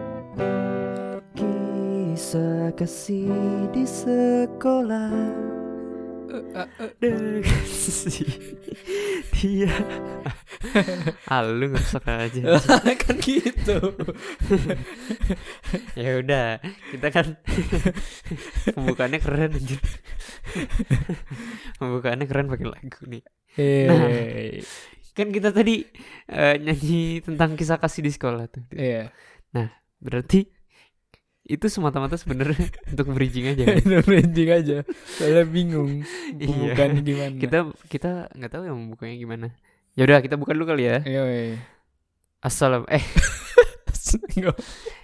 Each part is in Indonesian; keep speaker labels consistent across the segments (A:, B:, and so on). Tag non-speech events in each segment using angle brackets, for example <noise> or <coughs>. A: lupa Kisah kasih di sekolah <laughs> Dengan si dia Ah lu ngesok aja <laughs>
B: kan gitu
A: Ya udah Kita <laughs> kan Pembukaannya keren anjir <laughs> Pembukaannya keren pakai lagu nih Nah.
B: Nah. Hei. iya.
A: Kan kita tadi eh, Nyanyi tentang kisah kasih di sekolah tuh
B: Iya.
A: Berarti Itu semata-mata sebenarnya <laughs> Untuk bridging aja kan?
B: itu branding aja soalnya bingung
A: Iya.
B: <laughs> bukan gimana
A: kita kita nggak tahu yang membukanya gimana ya udah kita buka dulu kali ya
B: Yoi.
A: assalam eh
B: Nggak.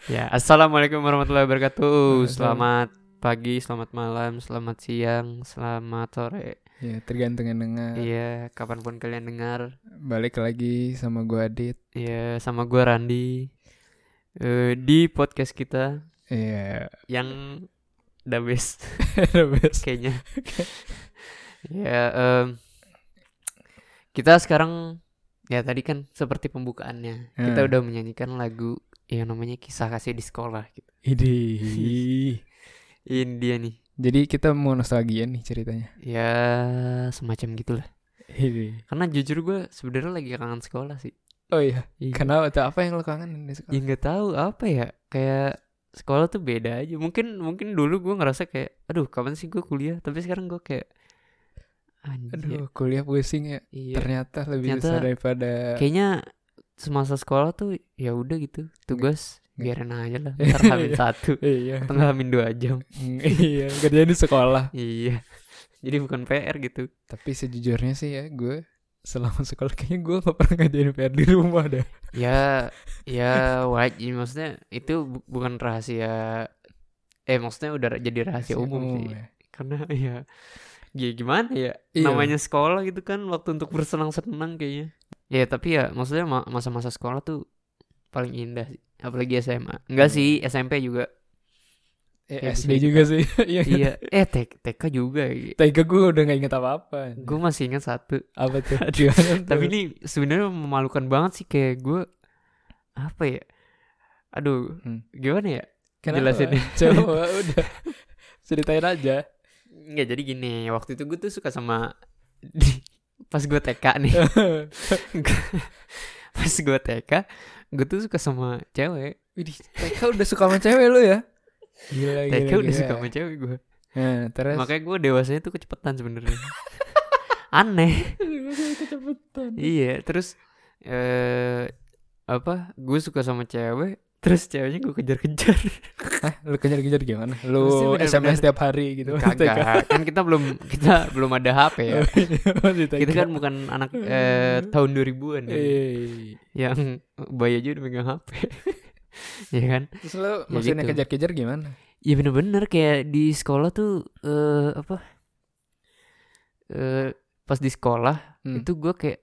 A: ya assalamualaikum warahmatullahi wabarakatuh
B: Waalaikumsalam.
A: selamat pagi selamat malam selamat siang selamat sore
B: ya tergantung yang dengar
A: iya kapanpun kalian dengar
B: balik lagi sama gua Adit
A: ya sama gua Randi Eh, di podcast kita
B: Iya <laughs>
A: yang the best
B: The best. <laughs>
A: kayaknya ya em, kita sekarang ya tadi kan seperti pembukaannya kita
B: Hmm.
A: udah menyanyikan lagu yang namanya kisah kasih di sekolah gitu
B: Idih.
A: <laughs> ini dia nih
B: jadi kita mau nostalgia nih ceritanya
A: ya semacam gitulah
B: Idih.
A: karena jujur gue sebenarnya lagi kangen sekolah sih
B: oh iya
A: Iya.
B: kenapa tuh apa yang lo kangen dari sekolah
A: ya nggak tahu apa ya kayak sekolah tuh beda aja mungkin mungkin dulu gue ngerasa kayak aduh kapan sih gue kuliah tapi sekarang gue kayak anjir
B: aduh kuliah pusing ya
A: iya
B: ternyata lebih
A: Ternyata
B: susah daripada
A: kayaknya semasa sekolah tuh ya udah gitu tugas
B: nggak.
A: biarin aja <laughs> lah ntar hamin satu
B: iya <laughs>
A: atau nggak hamin dua jam
B: iya kerjaan di sekolah
A: iya jadi bukan PR gitu
B: tapi sejujurnya sih ya gue selama sekolah kayaknya gue gak pernah ngajarin PR di rumah dah
A: ya ya wajib maksudnya itu bu- bukan rahasia eh maksudnya udah ra- jadi rahasia umum sih
B: ya.
A: karena <laughs> ya ya gimana ya
B: Iya.
A: namanya sekolah gitu kan waktu untuk bersenang-senang kayaknya ya tapi ya maksudnya ma- masa-masa sekolah tuh paling indah sih apalagi SMA enggak
B: Iya.
A: sih SMP juga
B: Eh,
A: Ya,
B: SD
A: bisa
B: juga sih <laughs> iya kan?
A: iya <laughs> eh T- TK juga
B: TK gue udah gak inget apa-apa
A: gue masih ingat satu
B: apa tuh
A: Aduh,
B: Gimana tuh?
A: Iya. tapi ini sebenarnya memalukan banget sih kayak gue apa ya aduh
B: Hmm.
A: gimana ya
B: Kenapa?
A: jelasinnya.
B: <laughs> coba udah ceritain
A: <laughs>
B: aja
A: nggak jadi gini waktu itu gue tuh suka sama <laughs> pas gue TK <laughs> nih pas gue TK gue tuh suka sama cewek
B: Widih, TK udah suka sama cewek lu ya gila gila
A: TK udah
B: gila.
A: suka sama cewek gue
B: nah, terus
A: makanya gue dewasanya tuh kecepetan <laughs> sebenarnya aneh
B: kecepetan
A: iya terus eh apa gue suka sama cewek terus ceweknya gue kejar-kejar
B: Hah, lu kejar-kejar gimana
A: Pasti
B: lu
A: bener-bener.
B: SMS tiap hari gitu <laughs>
A: kagak kan kita belum kita belum ada HP ya
B: Masih TK.
A: kita kan bukan anak
B: Iya.
A: eh, tahun 2000-an ya.
B: Eh.
A: yang bayi aja udah megang <laughs> HP ya kan
B: Terus lo
A: Ya
B: maksudnya
A: gitu.
B: kejar-kejar gimana?
A: ya bener-bener kayak di sekolah tuh eh apa eh pas di sekolah
B: Hmm.
A: itu gue kayak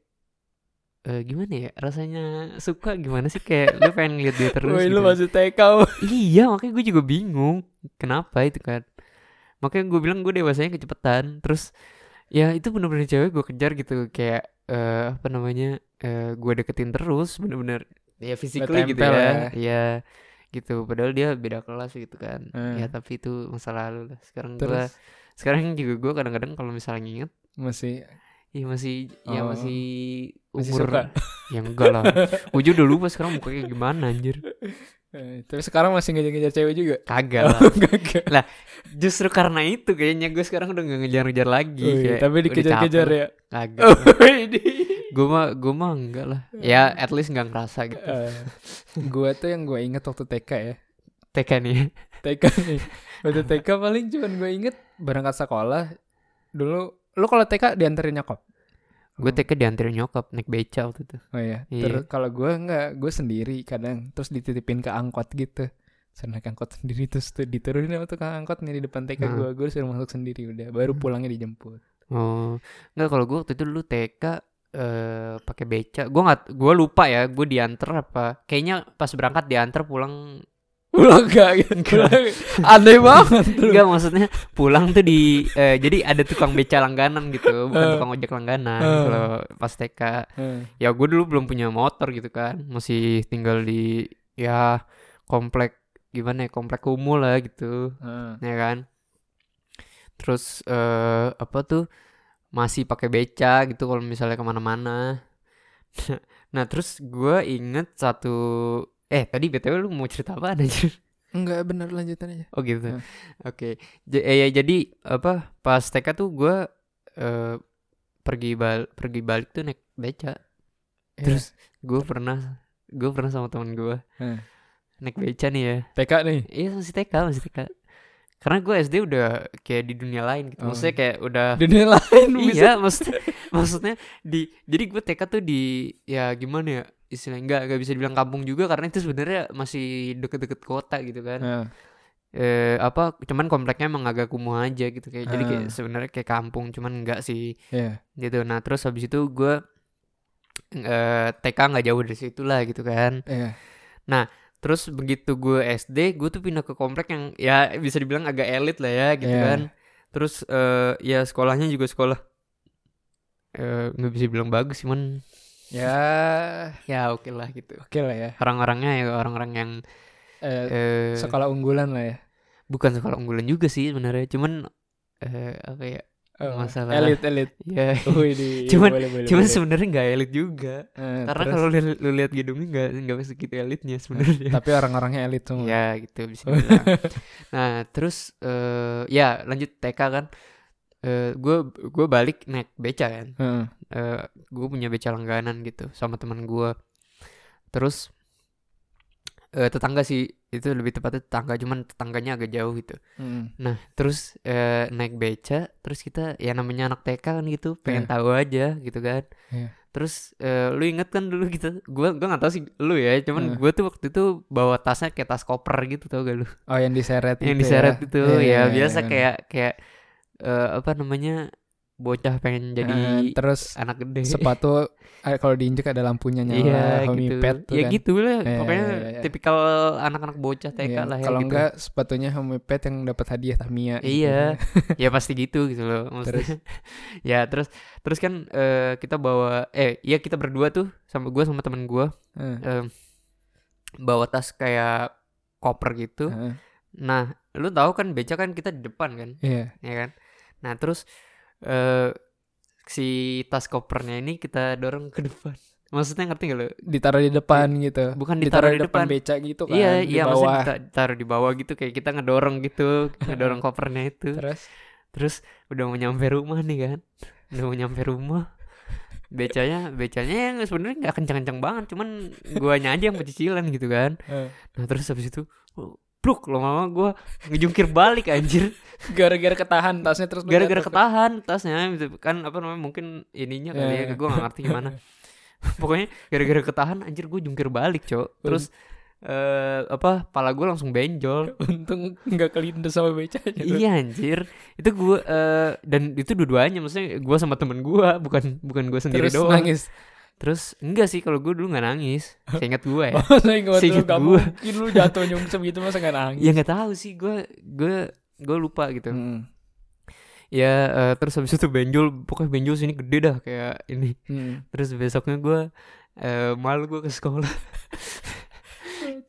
A: eh, gimana ya rasanya suka gimana sih kayak gue pengen ngeliat dia terus
B: Woi,
A: gitu.
B: lu masih TK.
A: iya makanya gue juga bingung kenapa itu kan makanya gue bilang gue dewasanya kecepetan terus ya itu bener-bener cewek gue kejar gitu kayak eh, apa namanya eh, gue deketin terus bener-bener ya physically gitu
B: tempel
A: ya Iya gitu padahal dia beda kelas gitu kan
B: Hmm.
A: ya tapi itu masa lalu lah sekarang gue
B: Terus
A: sekarang juga gue kadang-kadang kalau misalnya nginget
B: masih
A: ya masih ya
B: Oh.
A: masih
B: Masih
A: umur
B: suka.
A: yang enggak lah gue juga udah lupa sekarang mukanya gimana anjir
B: eh, tapi sekarang masih ngejar-ngejar cewek juga. <laughs> Oh,
A: kagak lah.
B: Kagak.
A: Justru karena itu kayaknya gue sekarang udah gak ngejar-ngejar lagi.
B: Wih,
A: Iya, kayak
B: tapi
A: udah
B: dikejar-kejar
A: capek.
B: ya.
A: Kagak.
B: <laughs> Wih, di-
A: Gue mah gue mah enggak lah. Ya at least nggak ngerasa gitu.
B: Eh, gua tuh yang gue inget waktu TK ya.
A: TK nih. ya.
B: TK nih. Waktu TK paling cuman gue inget berangkat sekolah dulu lu kalau TK dianterin nyokap.
A: Gue
B: Hmm.
A: TK dianterin nyokap naik beca waktu itu.
B: Oh iya.
A: Iya.
B: Terus kalau gua enggak, gue sendiri kadang terus dititipin ke angkot gitu. Saya naik angkot <laughs> sendiri terus tuh diturunin sama tukang angkot nih di depan TK
A: Hmm.
B: gua, gue suruh masuk sendiri udah. Baru pulangnya dijemput.
A: Oh nggak kalau gue waktu itu dulu TK eh pakai
B: <laughs>
A: beca. Gue nggak gue lupa ya. Gue dianter apa? Kayaknya pas berangkat dianter pulang
B: pulang gak gitu <laughs> aneh banget lu.
A: Enggak maksudnya pulang tuh di eh, jadi ada tukang beca langganan gitu, bukan
B: Eh.
A: tukang ojek langganan
B: Eh.
A: kalau pas TK.
B: Heeh.
A: Ya gue dulu belum punya motor gitu kan, masih tinggal di ya komplek gimana ya komplek kumuh lah gitu,
B: Heeh.
A: ya kan. Terus eh apa tuh masih pakai beca gitu kalau misalnya kemana-mana. <laughs> nah terus gue inget satu eh tadi btw lu mau cerita apa aja?
B: enggak bener lanjutan aja
A: <laughs> Oh gitu.
B: Ya.
A: Oke. Ja- eh, ya, jadi apa pas TK tuh gue eh pergi bal pergi balik tuh naik beca.
B: Iya.
A: Terus gue pernah gue pernah sama teman gue
B: Hmm.
A: naik beca nih ya.
B: TK nih
A: Iya masih TK masih TK. Karena gue SD udah kayak di dunia lain gitu.
B: Oh.
A: Maksudnya kayak
B: <laughs>
A: udah
B: dunia lain bisa
A: iya maksudnya <laughs> maksudnya di jadi gue TK tuh di ya gimana ya istilahnya nggak nggak bisa dibilang kampung juga karena itu sebenarnya masih deket-deket kota gitu kan
B: Heeh.
A: eh apa cuman kompleknya emang agak kumuh aja gitu kayak jadi kayak
B: Ah.
A: sebenarnya kayak kampung cuman enggak sih
B: Iya.
A: gitu nah terus habis itu gue eh TK nggak jauh dari situ lah gitu kan
B: Iya.
A: terus begitu gue SD gue tuh pindah ke komplek yang ya bisa dibilang agak elit lah ya gitu
B: Iya.
A: kan terus eh ya sekolahnya juga sekolah eh, nggak bisa bilang bagus cuman
B: ya
A: ya oke lah gitu
B: oke lah ya
A: orang-orangnya ya orang-orang yang eh,
B: Eh, sekolah unggulan lah ya
A: bukan sekolah unggulan juga sih sebenarnya cuman eh apa ya
B: Oh,
A: Masalah.
B: elit elit
A: ya
B: Wih, di-
A: Cuman-
B: boleh, boleh,
A: Cuman
B: boleh.
A: sebenarnya nggak elit juga.
B: iya, Eh,
A: Karena
B: terus?
A: kalau lu, lu lihat gedungnya nggak nggak segitu elitnya sebenarnya.
B: tapi orang-orangnya elit semua
A: ya gitu bisa dibilang. nah terus eh ya lanjut TK kan. Gue gue balik naik beca kan.
B: Heeh.
A: gue punya beca langganan gitu sama teman gue. Terus eh tetangga sih itu lebih tepatnya tetangga cuman tetangganya agak jauh gitu.
B: Heeh.
A: Nah terus eh, naik beca terus kita ya namanya anak TK kan gitu pengen
B: Iya.
A: tahu aja gitu kan.
B: Iya.
A: Terus eh, lu inget kan dulu kita gua gua nggak tahu sih lu ya cuman
B: Iya.
A: gua tuh waktu itu bawa tasnya kayak tas koper gitu tau gak lu
B: oh yang diseret
A: yang
B: gitu
A: diseret
B: ya.
A: itu
B: Iya, iya,
A: ya
B: iya,
A: biasa
B: iya.
A: kayak kayak eh, apa namanya bocah pengen jadi
B: Eh,
A: <laughs>
B: terus
A: anak gede.
B: sepatu eh, kalau diinjek ada lampunya nyala
A: Iya gitu.
B: homie pet tuh
A: ya
B: kan.
A: gitu lah
B: Iya,
A: pokoknya
B: iya, iya.
A: tipikal anak-anak bocah TK
B: Iya,
A: lah ya
B: kalau
A: gitu.
B: enggak sepatunya homie pet yang dapat hadiah Tamiya gitu. <laughs>
A: Iya, ya pasti gitu gitu loh. Maksudnya, <laughs> ya terus terus kan eh, kita bawa eh ya kita berdua tuh sama gue sama temen gue
B: Heeh.
A: eh, bawa tas kayak koper gitu.
B: Heeh.
A: Nah, lu tahu kan beca kan kita di depan kan,
B: Iya.
A: ya kan. Nah terus eh si tas kopernya ini kita dorong ke depan. <laughs> Maksudnya ngerti gak lo?
B: ditaruh di depan gitu
A: Iya. Bukan ditaruh di depan.
B: beca gitu kan
A: iya
B: di
A: iya maksudnya
B: bawah
A: dita- ditaruh di bawah gitu kayak kita ngedorong
B: <laughs>
A: gitu, ngedorong kopernya itu.
B: terus
A: Terus udah mau nyampe rumah nih kan. Udah mau nyampe rumah. Becanya, becanya yang sebenarnya nggak kencang-kencang banget, cuman guanya aja yang pecicilan gitu kan.
B: eh,
A: Nah, terus habis itu oh, pluk lama-lama gua ngejungkir balik anjir.
B: gara-gara ketahan tasnya terus lu
A: Gara-gara
B: jatuh ke-
A: ketahan tasnya gitu. kan apa namanya mungkin ininya kali
B: Iya,
A: ya,
B: iya.
A: gua gak ngerti gimana. <laughs> Pokoknya gara-gara ketahan anjir gue jungkir balik, Cok. Terus eh apa pala gue langsung benjol.
B: untung nggak kelindes sama becanya tuh.
A: Iya anjir. Itu gua eh, dan itu dua-duanya maksudnya gua sama temen gua bukan bukan gua sendiri
B: terus
A: doang.
B: nangis
A: Terus enggak sih kalau gua dulu nggak nangis. Seingat gua
B: <laughs>
A: ya.
B: oh saya nggak
A: Seinget
B: tahu gak
A: gua.
B: mungkin lu jatuh nyungsep gitu masa nggak nangis
A: ya nggak tahu sih gua gua gua lupa gitu.
B: Hmm.
A: Ya eh, terus habis itu benjol pokoknya benjol sini gede dah kayak ini.
B: Hmm.
A: Terus besoknya gua eh, malu gua ke sekolah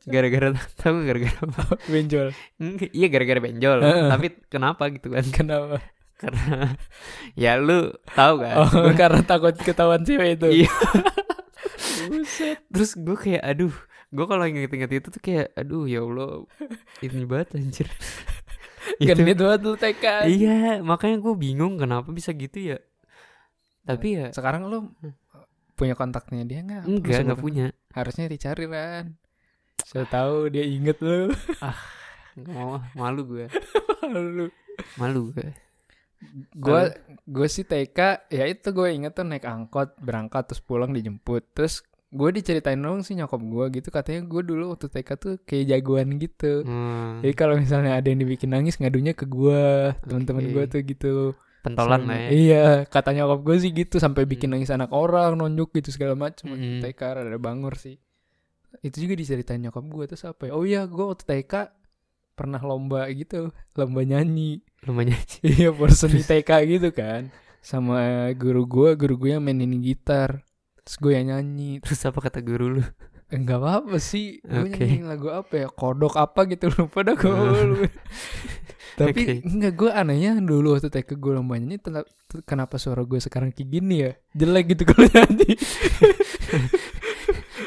A: gara-gara tahu gara-gara apa?
B: benjol
A: Enggak, Iya gara-gara benjol.
B: Heeh.
A: Tapi kenapa gitu kan? <laughs>
B: kenapa
A: Karena ya lu tahu kan.
B: oh, karena takut ketahuan cewek itu
A: Iya.
B: Buset.
A: terus gue kayak aduh gue kalau inget-inget itu tuh kayak aduh ya allah ini banget
B: <laughs>
A: anjir Itu-
B: genit kan? banget lu TK
A: iya makanya gue bingung kenapa bisa gitu ya tapi ya
B: sekarang lu punya kontaknya dia nggak Apa lu
A: enggak
B: sebut-
A: enggak punya
B: harusnya dicari kan saya tahu dia inget lu
A: Nggak mau ah, malu gue
B: lu
A: malu gue
B: gue gue sih TK ya itu gue inget tuh naik angkot berangkat terus pulang dijemput terus gue diceritain dong sih nyokap gue gitu katanya gue dulu waktu TK tuh kayak jagoan gitu
A: Hmm,
B: jadi kalau misalnya ada yang dibikin nangis ngadunya ke gue Eh, teman-teman
A: Oke.
B: gue tuh gitu
A: pentolan
B: Sampai-
A: lah ya
B: iya kata nyokap gue sih gitu sampai bikin
A: Hmm.
B: nangis anak orang nonjuk gitu segala macam
A: Hmm.
B: TK ada bangor sih itu juga diceritain nyokap gue terus apa ya oh iya gue waktu TK pernah lomba gitu lomba nyanyi <laughs>
A: Lumayan <laughs> aja.
B: iya person di TK gitu kan sama guru gue guru gue yang mainin gitar terus gue yang nyanyi
A: Terus apa kata guru lu?
B: enggak apa apa sih gue
A: Oke. Hmm.
B: nyanyi lagu apa ya kodok apa gitu lupa dah gue <laughs> tapi
A: Oke.
B: enggak gue anehnya dulu waktu TK gue lomba nyanyi tetap- kenapa suara gue sekarang kayak gini ya jelek gitu kalau <laughs> nyanyi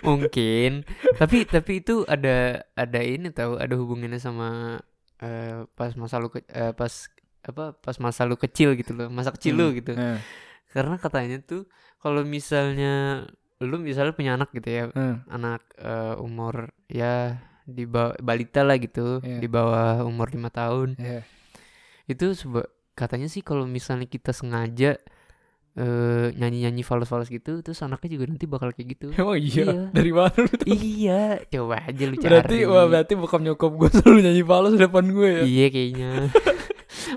A: Mungkin. tapi tapi itu ada ada ini tahu ada hubungannya sama eh, pas masa lu ke- eh, pas apa pas masa lu kecil gitu loh masa kecil lu gitu
B: Heeh.
A: karena katanya tuh kalau misalnya lu misalnya punya anak gitu ya
B: Heeh.
A: anak eh, umur ya di ba- balita lah gitu
B: Iya.
A: di bawah umur lima tahun
B: Iya.
A: itu seba- katanya sih kalau misalnya kita sengaja nyanyi nyanyi fals fals gitu terus anaknya juga nanti bakal kayak
B: <laughs>
A: gitu
B: Emang iya?
A: Iya.
B: Dari mana lu tahu?
A: iya coba aja lu cari
B: Berarti wah berarti bokap nyokap gue <laughs> selalu nyanyi palsu di depan gue ya.
A: iya kayaknya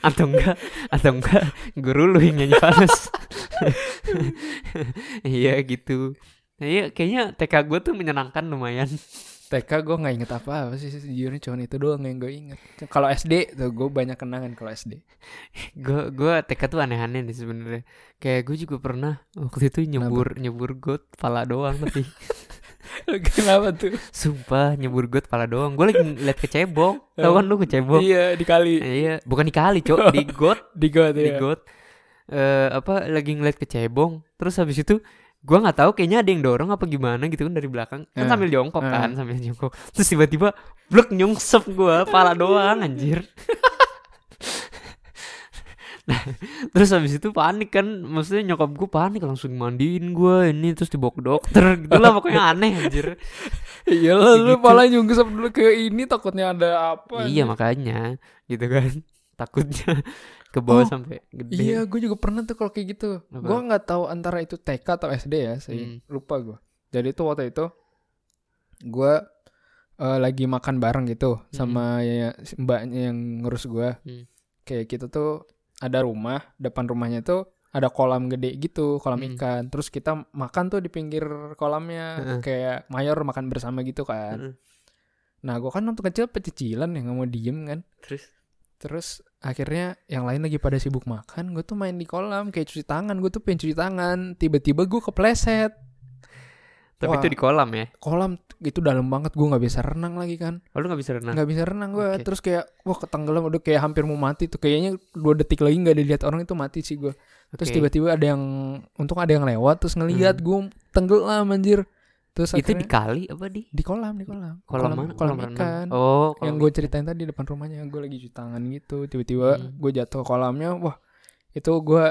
A: atau enggak atau enggak guru lu yang nyanyi fals iya gitu Nah, iya, kayaknya TK gue tuh menyenangkan lumayan
B: TK gue nggak inget apa apa sih sejujurnya cuma itu doang yang gue inget. Kalau SD tuh gue banyak kenangan kalau
A: <laughs>
B: SD.
A: gue gue TK tuh aneh-aneh nih sebenarnya kayak gue juga pernah waktu itu nyebur nyebur got pala doang tapi
B: Kenapa tuh?
A: sumpah nyebur got pala doang gue lagi ngeliat kecebong tau kan lu kecebong
B: Iya di kali
A: iya bukan di kali cok di got
B: di got
A: di
B: ya.
A: got Eh, apa lagi ngeliat kecebong terus habis itu gue nggak tahu kayaknya ada yang dorong apa gimana gitu kan dari belakang kan
B: Eh,
A: sambil jongkok
B: eh.
A: kan sambil jongkok terus tiba-tiba blek nyungsep gue
B: <laughs>
A: pala doang anjir nah terus habis itu panik kan maksudnya nyokap gue panik langsung mandiin gue ini terus dibawa ke dokter
B: <laughs>
A: gitulah pokoknya aneh anjir
B: Iya lah lu
A: Gitu.
B: malah nyungsep dulu ke ini takutnya ada apa.
A: iya makanya gitu kan takutnya ke bawah
B: Oh,
A: sampai gede
B: Iya, gue juga pernah tuh kalau kayak gitu.
A: Apa?
B: Gue nggak tahu antara itu TK atau SD ya, saya
A: Hmm.
B: lupa gue. Jadi itu waktu itu gue eh, lagi makan bareng gitu sama ya- si mbaknya yang ngurus gue.
A: Hmm.
B: Kayak kita tuh ada rumah, depan rumahnya tuh ada kolam gede gitu, kolam
A: Hmm.
B: ikan. Terus kita makan tuh di pinggir kolamnya,
A: Heeh. Hmm.
B: kayak mayor makan bersama gitu kan.
A: Heeh.
B: Nah, gue kan waktu kecil pecicilan ya nggak mau diem kan.
A: terus
B: Terus akhirnya yang lain lagi pada sibuk makan, gue tuh main di kolam kayak cuci tangan, gue tuh pengen cuci tangan, tiba-tiba gue kepleset.
A: tapi
B: Wah.
A: itu di kolam ya
B: Kolam itu dalam banget, gue nggak bisa renang lagi kan,
A: Oh, lu gak bisa renang?
B: nggak bisa renang gue.
A: Oke.
B: Terus kayak wah ketenggelam, udah kayak hampir mau mati tuh, kayaknya dua detik lagi nggak dilihat orang itu mati sih gue. Terus
A: Oke. Hmm.
B: tiba-tiba ada yang, untung ada yang lewat, terus ngelihat gue tenggelam anjir. Terus
A: itu
B: akhirnya-
A: di kali apa di
B: di kolam, di kan? kolam,
A: kolam, mana?
B: kolam,
A: renang.
B: ikan.
A: Oh, kolam
B: yang gue
A: ikan.
B: ceritain tadi depan rumahnya gue lagi cuci tangan gitu tiba-tiba
A: Hmm.
B: gue jatuh ke kolamnya wah itu gue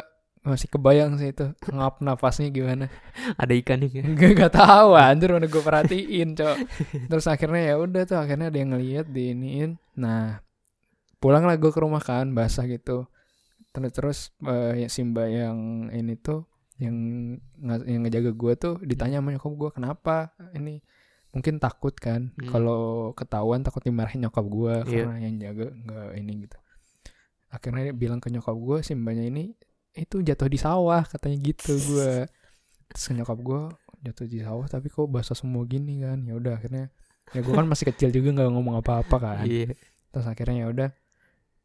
B: masih kebayang sih itu ngap nafasnya gimana
A: ada ikan ya.
B: gak, gak tahu anjir mana gue perhatiin cok terus akhirnya ya udah tuh akhirnya ada yang ngeliat diiniin nah pulanglah gue ke rumah kan basah gitu terus terus eh, ya Simba yang ini tuh yang nga- yang ngejaga gue tuh ditanya sama nyokap gue kenapa ini mungkin takut kan
A: Hmm.
B: kalau ketahuan takut dimarahin nyokap gue
A: Iya.
B: karena yang jaga nggak ini gitu akhirnya dia bilang ke nyokap gue Simbanya ini itu jatuh di sawah katanya gitu gue terus nyokap gue jatuh di sawah tapi kok basah semua gini kan ya udah akhirnya ya gue kan masih kecil juga nggak ngomong apa-apa kan
A: Iya.
B: terus akhirnya ya udah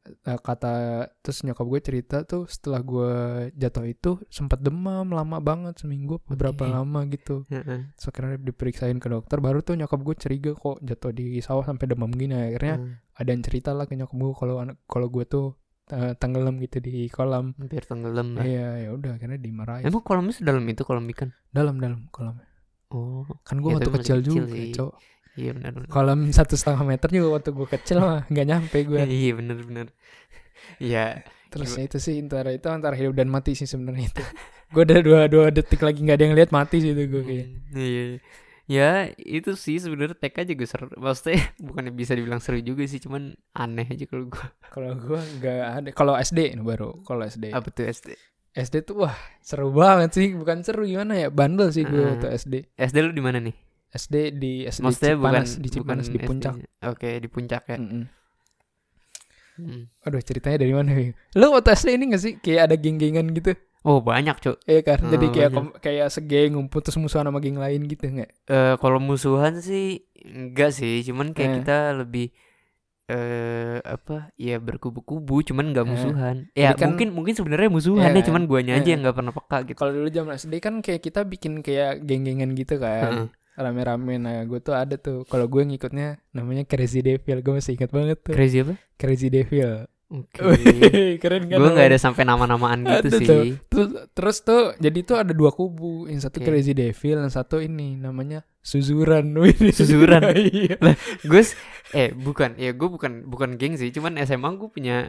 B: eh, kata terus nyokap gue cerita tuh setelah gue jatuh itu sempat demam lama banget seminggu apa berapa
A: Oke.
B: lama gitu
A: Heeh.
B: terus akhirnya diperiksain ke dokter baru tuh nyokap gue curiga kok jatuh di sawah sampai demam gini akhirnya
A: Hmm,
B: ada yang cerita lah ke nyokap gue kalau anak kalau gue tuh eh, tenggelam gitu di kolam
A: Hampir tenggelam lah.
B: iya ya udah akhirnya dimarahin
A: Nah. Emang kolamnya sedalam itu kolam ikan?
B: dalam dalam kolam
A: Oh,
B: kan gue
A: Ya,
B: waktu
A: tapi masih
B: kecil,
A: kecil
B: juga
A: sih.
B: cowok
A: iya benar benar.
B: kolam satu setengah meter juga waktu gue kecil mah nggak nyampe gue
A: Iya benar benar. <laughs> Iya,
B: terus ya
A: Gimana?
B: itu sih antara itu antara hidup dan mati sih sebenarnya itu gue udah dua dua detik lagi nggak ada yang lihat mati sih itu gue kayak
A: Hmm, Iya. iya. Ya itu sih sebenarnya TK juga seru Maksudnya <laughs> bukannya bisa dibilang seru juga sih Cuman aneh aja kalau gue
B: kalau gue nggak ada kalau SD ini baru kalau SD
A: Apa tuh SD
B: SD tuh wah seru banget sih bukan seru gimana ya bandel sih gue
A: Ah.
B: waktu SD
A: SD lu di mana nih?
B: SD di SD
A: Maksudnya bukan
B: Cipanas di Cipanas
A: bukan
B: di puncak
A: SD-nya. Oke di puncak ya
B: Mm-mm.
A: Hmm.
B: ya? aduh ceritanya dari mana Wi? lu waktu SD ini gak sih kayak ada geng-gengan gitu
A: oh banyak cuk
B: Iya kan,
A: Hmm,
B: jadi kayak
A: bener.
B: kom- kayak segeng ngumpul terus musuhan sama geng lain gitu nggak?
A: Eh, kalau musuhan sih enggak sih cuman kayak
B: Eh.
A: kita lebih eh apa ya berkubu-kubu cuman nggak
B: Eh.
A: musuhan ya
B: Tapi kan-
A: mungkin mungkin sebenarnya musuhan
B: Iya
A: ya cuman
B: kan?
A: guanya aja
B: Eh.
A: yang nggak pernah peka gitu
B: Kalau dulu zaman SD kan kayak kita bikin kayak geng-gengan gitu kan,
A: Heeh.
B: rame-rame. Nah gue tuh ada tuh, kalau gue ngikutnya namanya Crazy Devil, gue masih ingat banget tuh.
A: crazy apa
B: Crazy
A: <laughs>
B: Devil.
A: oke
B: <laughs> Keren
A: gue
B: kan?
A: nggak ada
B: namanya?
A: sampai nama-namaan gitu
B: Ada
A: sih
B: tuh. Terus, terus tuh jadi tuh ada dua kubu, yang satu
A: Oke.
B: Crazy Devil, yang satu ini namanya Suzuran. <laughs> Wih.
A: Suzuran?
B: Iya.
A: gue eh bukan ya gue bukan bukan geng sih cuman SMA gue punya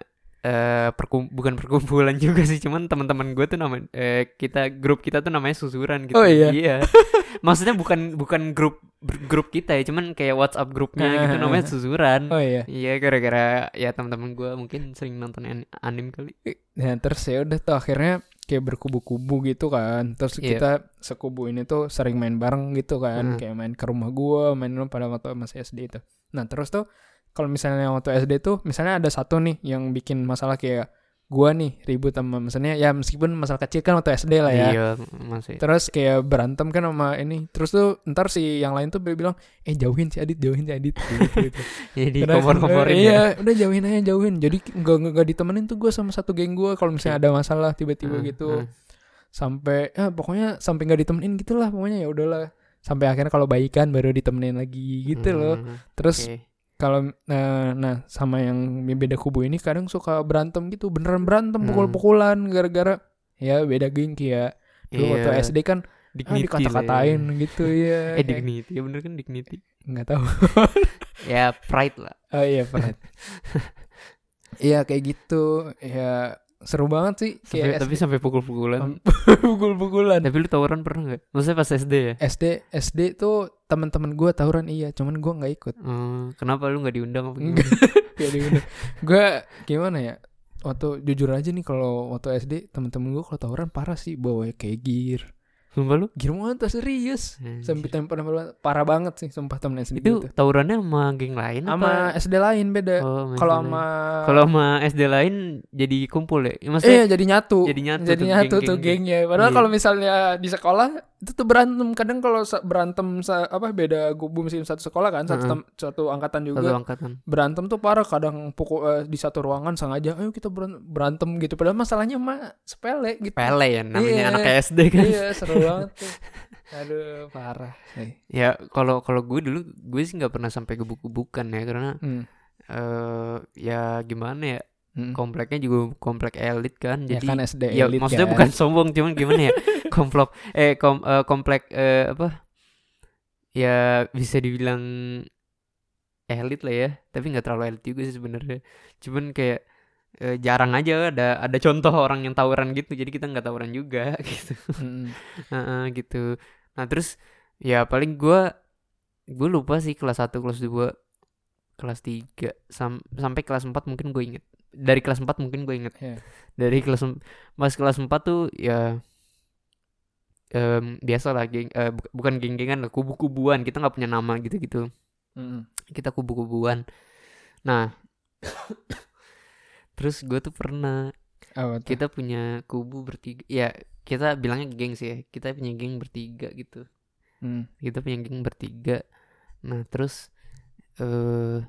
A: eh perkum- bukan perkumpulan <laughs> juga sih cuman teman-teman gue tuh nama eh, kita grup kita tuh namanya susuran gitu
B: Oh, iya? <laughs>
A: maksudnya bukan bukan grup ber- grup kita ya cuman kayak WhatsApp grupnya gitu namanya susuran
B: Ah. Oh iya.
A: iya gara-gara ya teman-teman gue mungkin sering nonton an- anim kali
B: Nah terus ya udah tuh akhirnya kayak berkubu-kubu gitu kan. Terus
A: Iya.
B: kita sekubu ini tuh sering main bareng gitu kan.
A: Hmm.
B: Kayak main ke rumah gua, main lu pada waktu masih SD itu. Nah terus tuh kalau misalnya waktu SD tuh misalnya ada satu nih yang bikin masalah kayak gua nih ribut sama misalnya ya meskipun masalah kecil kan waktu SD lah ya.
A: iya masih
B: Terus kayak berantem kan sama ini. Terus tuh ntar si yang lain tuh bilang, "Eh jauhin si Adit, jauhin si Adit." Gitu, Gitu-gitu.
A: jadi
B: Karena-
A: kompor-komporin
B: iya,
A: ya
B: udah jauhin aja jauhin. Jadi nggak nggak nggak ditemenin tuh gue sama satu geng gue
A: Iya.
B: kalau misalnya ada masalah tiba-tiba
A: Heeh,
B: gitu
A: heeh.
B: sampai ah, pokoknya sampai nggak ditemenin gitulah pokoknya ya udahlah sampai akhirnya kalau baikan baru ditemenin lagi gitu
A: Hmm,
B: loh. Terus
A: oke.
B: kalau nah, nah sama yang beda kubu ini kadang suka berantem gitu beneran berantem
A: Hmm.
B: pukul-pukulan gara-gara ya beda geng ya. Dulu waktu
A: Iya,
B: SD kan ah,
A: dignity lah ya.
B: dikata-katain gitu ya.
A: <laughs> eh dignity ya bener kan dignity
B: Nggak tahu.
A: ya pride lah
B: Oh iya Fred. <laughs> Iya kayak gitu. Ya seru banget sih
A: Sampai-
B: kayak
A: tapi sampai pukul-pukulan Eh,
B: pukul-pukulan.
A: tapi lu tawuran pernah nggak maksudnya pas SD ya
B: SD SD tuh teman-teman gue tawuran iya, cuman gue nggak ikut.
A: Hmm, kenapa lu nggak diundang apa gimana?
B: Nggak.
A: Iya,
B: Jadi <laughs> gue gimana ya? Waktu jujur aja nih kalau waktu SD teman-teman gue kalau tawuran parah sih bawa kayak gear.
A: <laughs> sumpah lu
B: Gear mulu tuh serius. Sampai
A: Anjir.
B: tempel parah banget sih sumpah temen SD
A: itu
B: gitu.
A: tawurannya sama geng lain
B: Sama
A: apa
B: SD lain beda.
A: Oh, sama SD
B: kalau
A: lain.
B: sama
A: kalau sama SD lain jadi kumpul ya Ya, maksudnya
B: Iya jadi nyatu.
A: jadi nyatu
B: Jadi
A: tuh
B: nyatu
A: geng-geng
B: tuh
A: geng.
B: gengnya. Padahal
A: Iya.
B: kalau misalnya di sekolah itu tuh berantem. Kadang kalau sa- berantem sa- apa beda kubu misalnya satu sekolah kan satu
A: Heeh.
B: tem- satu angkatan
A: satu
B: juga
A: angkatan
B: berantem tuh parah kadang pukul eh, di satu ruangan sengaja ayo kita beran- berantem gitu. Padahal masalahnya mah sepele gitu.
A: pele ya namanya
B: Iya.
A: anak SD kan
B: Iya
A: <laughs>
B: seru banget tuh. Aduh parah. Eh,
A: ya kalau kalau gue dulu gue sih nggak pernah sampai gebuk-gebukan ya karena
B: hmm,
A: eh ya gimana ya
B: hmm.
A: kompleknya juga komplek elit kan
B: Ya
A: jadi
B: kan SD
A: ya
B: elit
A: maksudnya
B: kan.
A: bukan <laughs> sombong cuman gimana ya komplok eh kom- eh, komplek eh, apa ya bisa dibilang elit lah ya tapi nggak terlalu elit juga sih sebenarnya cuman kayak eh, jarang aja ada ada contoh orang yang tawuran gitu jadi kita nggak tawuran juga <laughs> gitu
B: Hmm,
A: Heeh, gitu nah terus ya paling gua gue lupa sih kelas 1, kelas 2 kelas 3 sam- sampai kelas 4 mungkin gue inget dari kelas 4 mungkin gue inget
B: Iya.
A: dari kelas em- pas kelas 4 tuh ya em, biasa lah geng eh, bu- bukan geng-gengan lah kubu-kubuan kita nggak punya nama gitu-gitu
B: hmm,
A: kita kubu-kubuan nah <coughs> terus gue tuh pernah
B: Apa tuh?
A: kita punya kubu bertiga ya kita bilangnya geng sih ya kita punya geng bertiga gitu
B: Hmm,
A: kita punya geng bertiga nah terus eh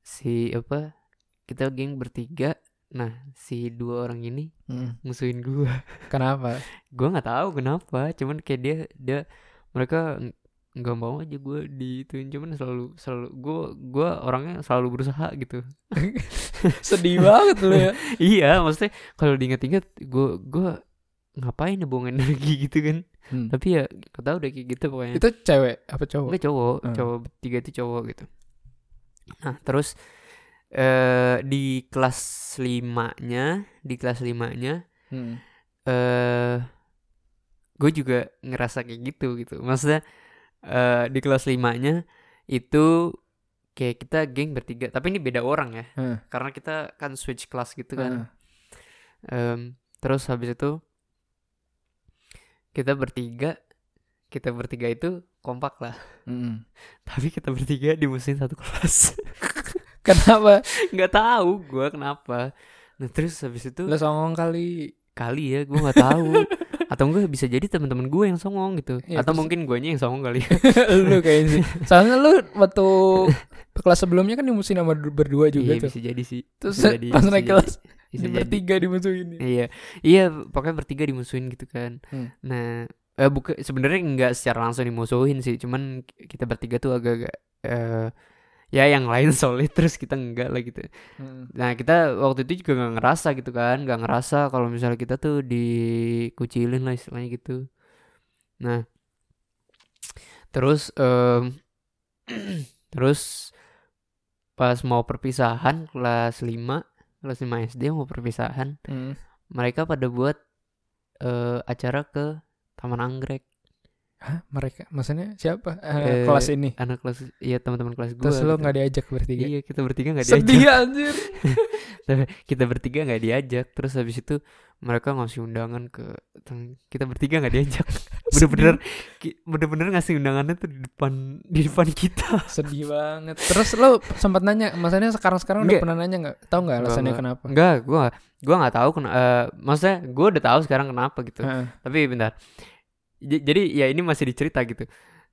A: si apa kita geng bertiga nah si dua orang ini
B: hmm.
A: musuhin gua
B: Kenapa?
A: gua nggak tahu kenapa cuman kayak dia dia mereka ng- nggak mau aja gua diituin cuman selalu selalu gua gua orangnya selalu berusaha gitu <laughs>
B: Sedih banget lu ya.
A: iya maksudnya kalau diingat-ingat gua gua ngapain ya buang <laughs> energi gitu kan
B: Hmm.
A: tapi ya nggak tahu deh kayak gitu pokoknya
B: Itu cewek apa cowok?
A: Enggak cowok,
B: Hmm.
A: cowok bertiga itu cowok gitu. Nah, terus eh di kelas limanya, di kelas limanya
B: Hmm.
A: eh gue juga ngerasa kayak gitu gitu. Maksudnya eh di kelas limanya itu kayak kita geng bertiga, tapi ini beda orang ya.
B: Hmm.
A: Karena kita kan switch kelas gitu kan.
B: Heeh.
A: Em, terus habis itu kita bertiga, kita bertiga itu kompak lah. <laughs> Hmm.
B: Mm-mm.
A: tapi kita bertiga dimusuhin satu kelas
B: <laughs>
A: <laughs>
B: Kenapa?
A: nggak tahu gua kenapa nah terus habis itu
B: Lu songong kali.
A: kali ya gue nggak tahu atau enggak bisa jadi teman-teman gue yang songong gitu
B: Ya,
A: atau
B: terus-
A: mungkin guanya yang songong kali
B: <laughs> lu kayaknya sih. Soalnya lu waktu kelas sebelumnya kan dimusuhin sama du- berdua <laughs> juga
A: iya
B: tuh.
A: bisa jadi sih
B: Terus
A: bisa jadi,
B: pas
A: bisa
B: naik
A: jadi,
B: kelas
A: bisa
B: di
A: jadi.
B: bertiga dimusuhin. ya.
A: iya iya pokoknya bertiga dimusuhin gitu kan
B: Hmm.
A: nah eh buka sebenarnya nggak secara langsung dimusuhin sih cuman kita bertiga tuh agak-agak eh ya yang lain <laughs> solid terus kita enggak lah gitu
B: Hmm.
A: Nah kita waktu itu juga nggak ngerasa gitu kan, nggak ngerasa kalau misalnya kita tuh dikucilin lah istilahnya gitu. Nah terus em, <clears throat> terus pas mau perpisahan kelas 5 kelas 5 SD mau perpisahan
B: Hmm.
A: mereka pada buat eh, acara ke Taman Anggrek
B: Hah, mereka maksudnya siapa?
A: Eh,
B: Eh, kelas ini.
A: anak kelas iya teman-teman kelas gue
B: Terus lo nggak diajak bertiga.
A: iya kita bertiga nggak diajak
B: Sedih anjir.
A: Tapi kita bertiga nggak diajak terus habis itu mereka ngasih undangan ke teng- kita bertiga nggak <laughs> diajak bener-bener ki- bener-bener ngasih undangannya tuh di depan di depan kita
B: Sedih banget. Terus lo sempat nanya, maksudnya sekarang-sekarang udah
A: Nggak.
B: pernah nanya nggak? Tahu nggak
A: Nggak,
B: alasannya
A: nggak.
B: kenapa?
A: enggak gua gua nggak tahu kena eh, maksudnya gua udah tahu sekarang kenapa gitu
B: Heeh.
A: tapi bentar J- jadi ya ini masih dicerita gitu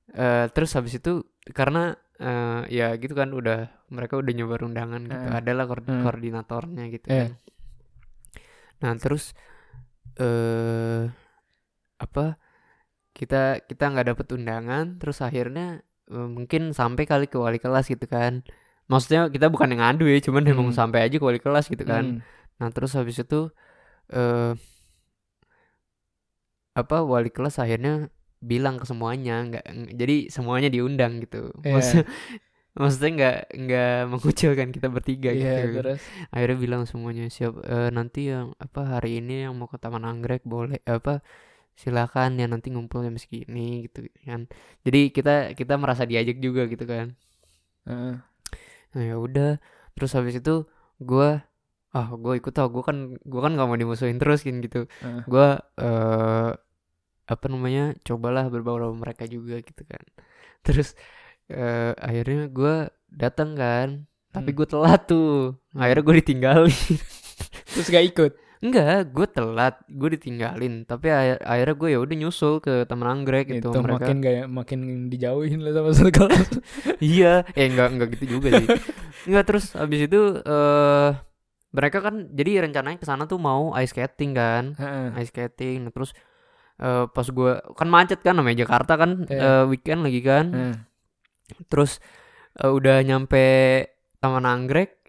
A: Eh, terus habis itu karena eh, ya gitu kan udah mereka udah nyebar undangan gitu
B: Eh.
A: adalah koord-
B: Eh.
A: koordinatornya gitu
B: Eh.
A: kan. nah terus eh apa kita kita nggak dapet undangan terus akhirnya eh, mungkin sampai kali ke wali kelas gitu kan maksudnya kita bukan yang ngadu ya cuman emang
B: Hmm.
A: sampai aja ke wali kelas gitu kan
B: Hmm.
A: Nah terus habis itu eh apa wali kelas akhirnya bilang ke semuanya nggak ng- jadi semuanya diundang gitu.
B: Iya.
A: Maksudnya, <laughs> maksudnya nggak nggak mengucilkan kita bertiga
B: Iya,
A: gitu.
B: terus.
A: Akhirnya bilang semuanya siap eh, nanti yang apa hari ini yang mau ke Taman Anggrek boleh eh, apa silakan ya nanti ngumpul jam segini gitu kan. Jadi kita kita merasa diajak juga gitu kan.
B: Heeh.
A: Nah ya udah, terus habis itu gua ah gue ikut tau gue kan gue kan nggak mau dimusuhin terus kan gitu.
B: Heeh.
A: Gua eh apa namanya cobalah berbaur sama mereka juga gitu kan. Terus eh akhirnya gua datang kan, tapi
B: Hmm.
A: gue telat tuh. Akhirnya gue ditinggalin. <laughs>
B: Terus gak ikut.
A: Enggak, gue telat, gue ditinggalin. Tapi akhir- akhirnya gue ya udah nyusul ke teman anggrek gitu
B: Itu
A: mereka.
B: makin gak makin dijauhin lah sama satu
A: <laughs>
B: kelas.
A: iya eh enggak enggak gitu juga <laughs> sih enggak terus abis itu eh mereka kan jadi rencananya ke sana tuh mau ice skating kan
B: Heeh.
A: ice skating nah, terus eh pas gua kan macet kan namanya Jakarta kan
B: Iya.
A: eh, weekend lagi kan
B: Heeh.
A: terus eh, udah nyampe taman anggrek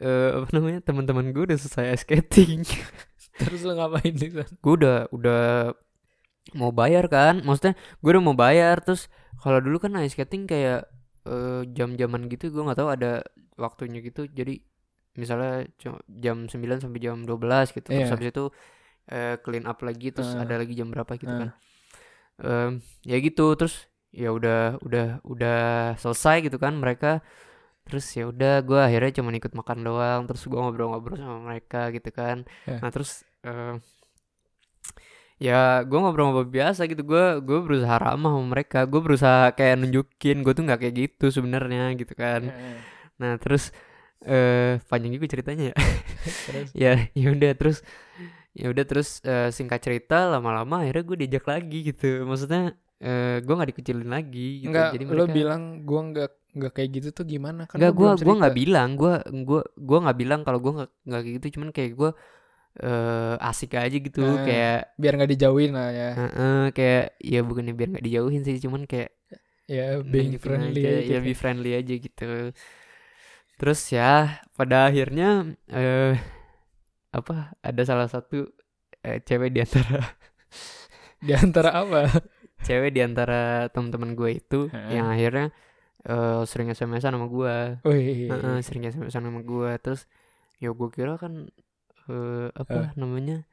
A: eh apa namanya teman-teman gue udah selesai ice skating
B: Terus lo ngapain di sana?
A: gue udah udah mau bayar kan maksudnya gue udah mau bayar terus kalau dulu kan ice skating kayak eh, jam-jaman gitu gue nggak tahu ada waktunya gitu jadi misalnya cu- jam 9 sampai jam 12 gitu terus
B: Iya.
A: habis itu eh, clean up lagi terus
B: Eh.
A: ada lagi jam berapa gitu
B: Eh.
A: kan Em, ya gitu terus ya udah udah udah selesai gitu kan mereka terus ya udah gue akhirnya cuma ikut makan doang terus gue ngobrol-ngobrol sama mereka gitu kan
B: Ya.
A: nah terus eh, ya gue ngobrol-ngobrol biasa gitu gue gue berusaha ramah sama mereka gue berusaha kayak nunjukin gue tuh nggak kayak gitu sebenarnya gitu kan
B: Heeh.
A: nah terus eh panjang juga ceritanya ya
B: Terus
A: ya <laughs> ya udah terus ya udah terus eh, singkat cerita lama-lama akhirnya gue diajak lagi gitu maksudnya eh gue nggak dikucilin lagi gitu
B: Enggak, lo
A: mereka-
B: bilang gue nggak nggak kayak gitu tuh gimana? Kan
A: Enggak
B: lo
A: gua
B: belum
A: gua nggak
B: cerita.
A: bilang, gua gua gua nggak bilang kalau gua nggak nggak kayak gitu, cuman kayak gua eh asik aja gitu,
B: Ah.
A: kayak
B: biar nggak dijauhin lah ya.
A: eh, eh, kayak ya bukannya biar nggak dijauhin sih, cuman kayak Nah,
B: Ya being
A: nunjukin
B: friendly
A: aja,
B: aja
A: ya
B: gitu.
A: be friendly aja gitu. Terus ya pada akhirnya eh apa ada salah satu eh, cewek di antara <laughs>
B: Di antara apa? <laughs>
A: cewek di antara teman-teman gue itu
B: Ah.
A: yang akhirnya eh, sering SMS-an sama gua.
B: Wih.
A: Heeh, sering kayak sampai sama gue terus ya gue kira kan eh, apa namanya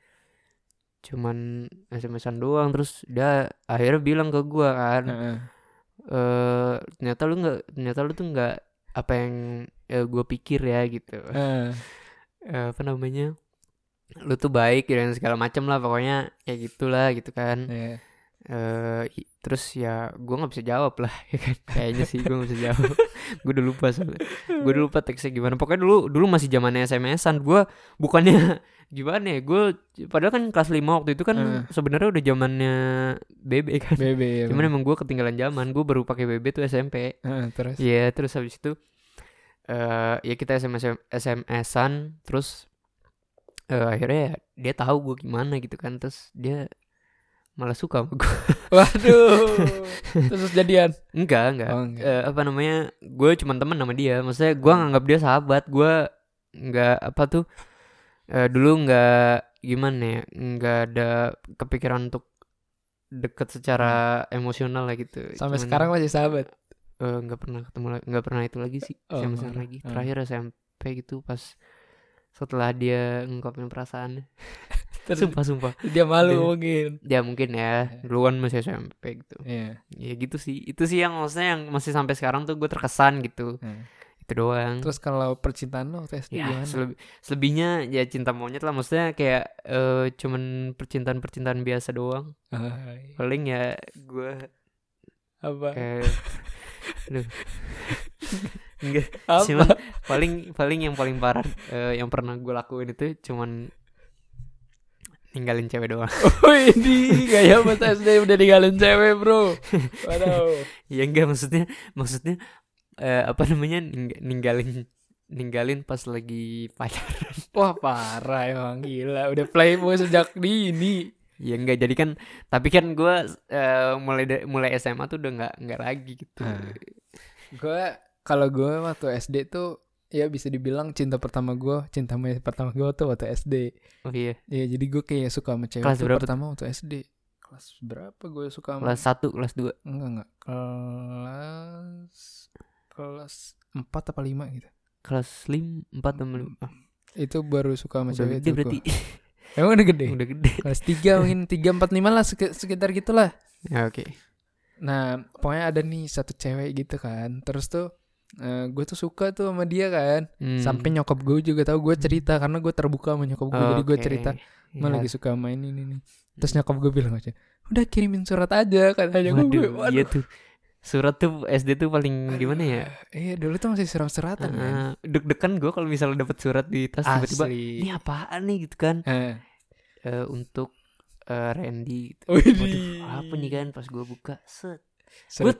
A: cuman SMS-an doang terus dia akhirnya bilang ke gue kan
B: Heeh.
A: eh ternyata lu nggak ternyata lu tuh nggak apa yang gue pikir ya gitu
B: Heeh.
A: Eh, apa namanya lu tuh baik dan segala macem lah pokoknya kayak gitulah gitu kan
B: Iya.
A: eh i- terus ya gue nggak bisa jawab lah <laughs> ya kan kayaknya sih gue nggak bisa jawab <laughs> gue udah lupa soalnya gue udah lupa teksnya gimana pokoknya dulu dulu masih zamannya SMS-an gue bukannya <laughs> gimana ya gue padahal kan kelas 5 waktu itu kan
B: Eh.
A: sebenarnya udah zamannya BB kan
B: BB ya,
A: cuman
B: bener.
A: emang gue ketinggalan zaman gue baru pakai BB tuh SMP
B: Heeh, terus
A: Iya, terus habis itu eh ya kita SMS SMS-an terus eh, akhirnya ya dia tahu gue gimana gitu kan. Terus dia malah suka sama gue.
B: waduh terus jadian
A: <laughs> enggak, enggak.
B: Oh, enggak. Hmm.
A: Eh, apa namanya? Gue cuma teman sama dia. Maksudnya gue nganggap dia sahabat. Gue enggak apa tuh eh, dulu enggak gimana ya? Enggak ada kepikiran untuk deket secara emosional lah gitu.
B: Hmm.
A: Cuman-
B: sampai sekarang masih sahabat
A: Eh, nggak pernah ketemu lagi nggak pernah itu lagi sih
B: Oh,
A: SMS-an
B: nggak
A: lagi
B: pernah.
A: terakhir SMP gitu pas setelah dia ngungkapin perasaannya
B: terus
A: sumpah sumpah
B: dia
A: Dia-
B: malu mungkin
A: ya mungkin ya duluan masih SMP gitu
B: Iya.
A: ya gitu sih itu sih yang maksudnya yang masih sampai sekarang tuh gue terkesan gitu
B: Hmm.
A: itu doang
B: terus kalau percintaan lo waktu SD
A: ya
B: gimana
A: selebi- selebihnya ya cinta monyet lah maksudnya kayak eh, cuman percintaan percintaan biasa doang
B: Hai.
A: paling ya gue
B: apa
A: kayak aduh
B: <laughs>
A: enggak
B: apa
A: Cuman paling paling yang paling parah eh, yang pernah gue lakuin itu cuman ninggalin cewek doang.
B: <laughs>
A: <laughs>
B: Wih, ini gaya mas SD udah ninggalin cewek bro waduh
A: ya enggak maksudnya maksudnya eh, apa namanya ningg- ninggalin ninggalin pas lagi pacar.
B: <laughs> wah parah emang gila udah playboy sejak
A: <laughs>
B: dini
A: Ya enggak jadi kan tapi kan gue eh, mulai da- mulai SMA tuh udah enggak enggak lagi gitu.
B: Ah. gue kalau gue waktu SD tuh ya bisa dibilang cinta pertama gue cinta monyet pertama gue tuh waktu SD
A: Oh iya,
B: ya jadi gue kayak suka sama cewek
A: Kelas
B: tuh
A: berapa
B: pertama waktu SD kelas berapa gue suka sama
A: kelas 1, kelas 2.
B: enggak enggak kelas kelas empat apa lima gitu
A: Kelas 5, 4 sama 5. Ah,
B: itu baru suka sama
A: udah
B: cewek
A: gede
B: itu
A: berarti. <laughs>
B: gue emang udah gede
A: udah
B: <laughs>
A: gede.
B: kelas tiga mungkin tiga empat lima lah sek- sekitar gitulah
A: Ya oke.
B: Nah, pokoknya ada nih satu cewek gitu kan. Terus tuh eh, gue tuh suka tuh sama dia kan.
A: Hmm.
B: Sampai nyokap gue juga tahu gue cerita karena gue terbuka sama nyokap gue. Jadi gue
A: Oke.
B: cerita, "Ma
A: Ya,
B: lagi suka sama ini ini nih." Terus nyokap gue bilang aja, "Udah kirimin surat aja," katanya gue.
A: Waduh,
B: Waduh.
A: iya tuh. Surat tuh SD tuh paling gimana ya?
B: Iya, dulu tuh masih surat-suratan kan.
A: Heeh, deg-degan gue kalau misalnya dapet surat di tas Ah, tiba-tiba ini
B: Asli.
A: apaan nih gitu kan
B: Eh,
A: Eh, untuk eh, Randy gitu.
B: Widih.
A: Waduh, apa nih kan pas gue buka set.
B: surat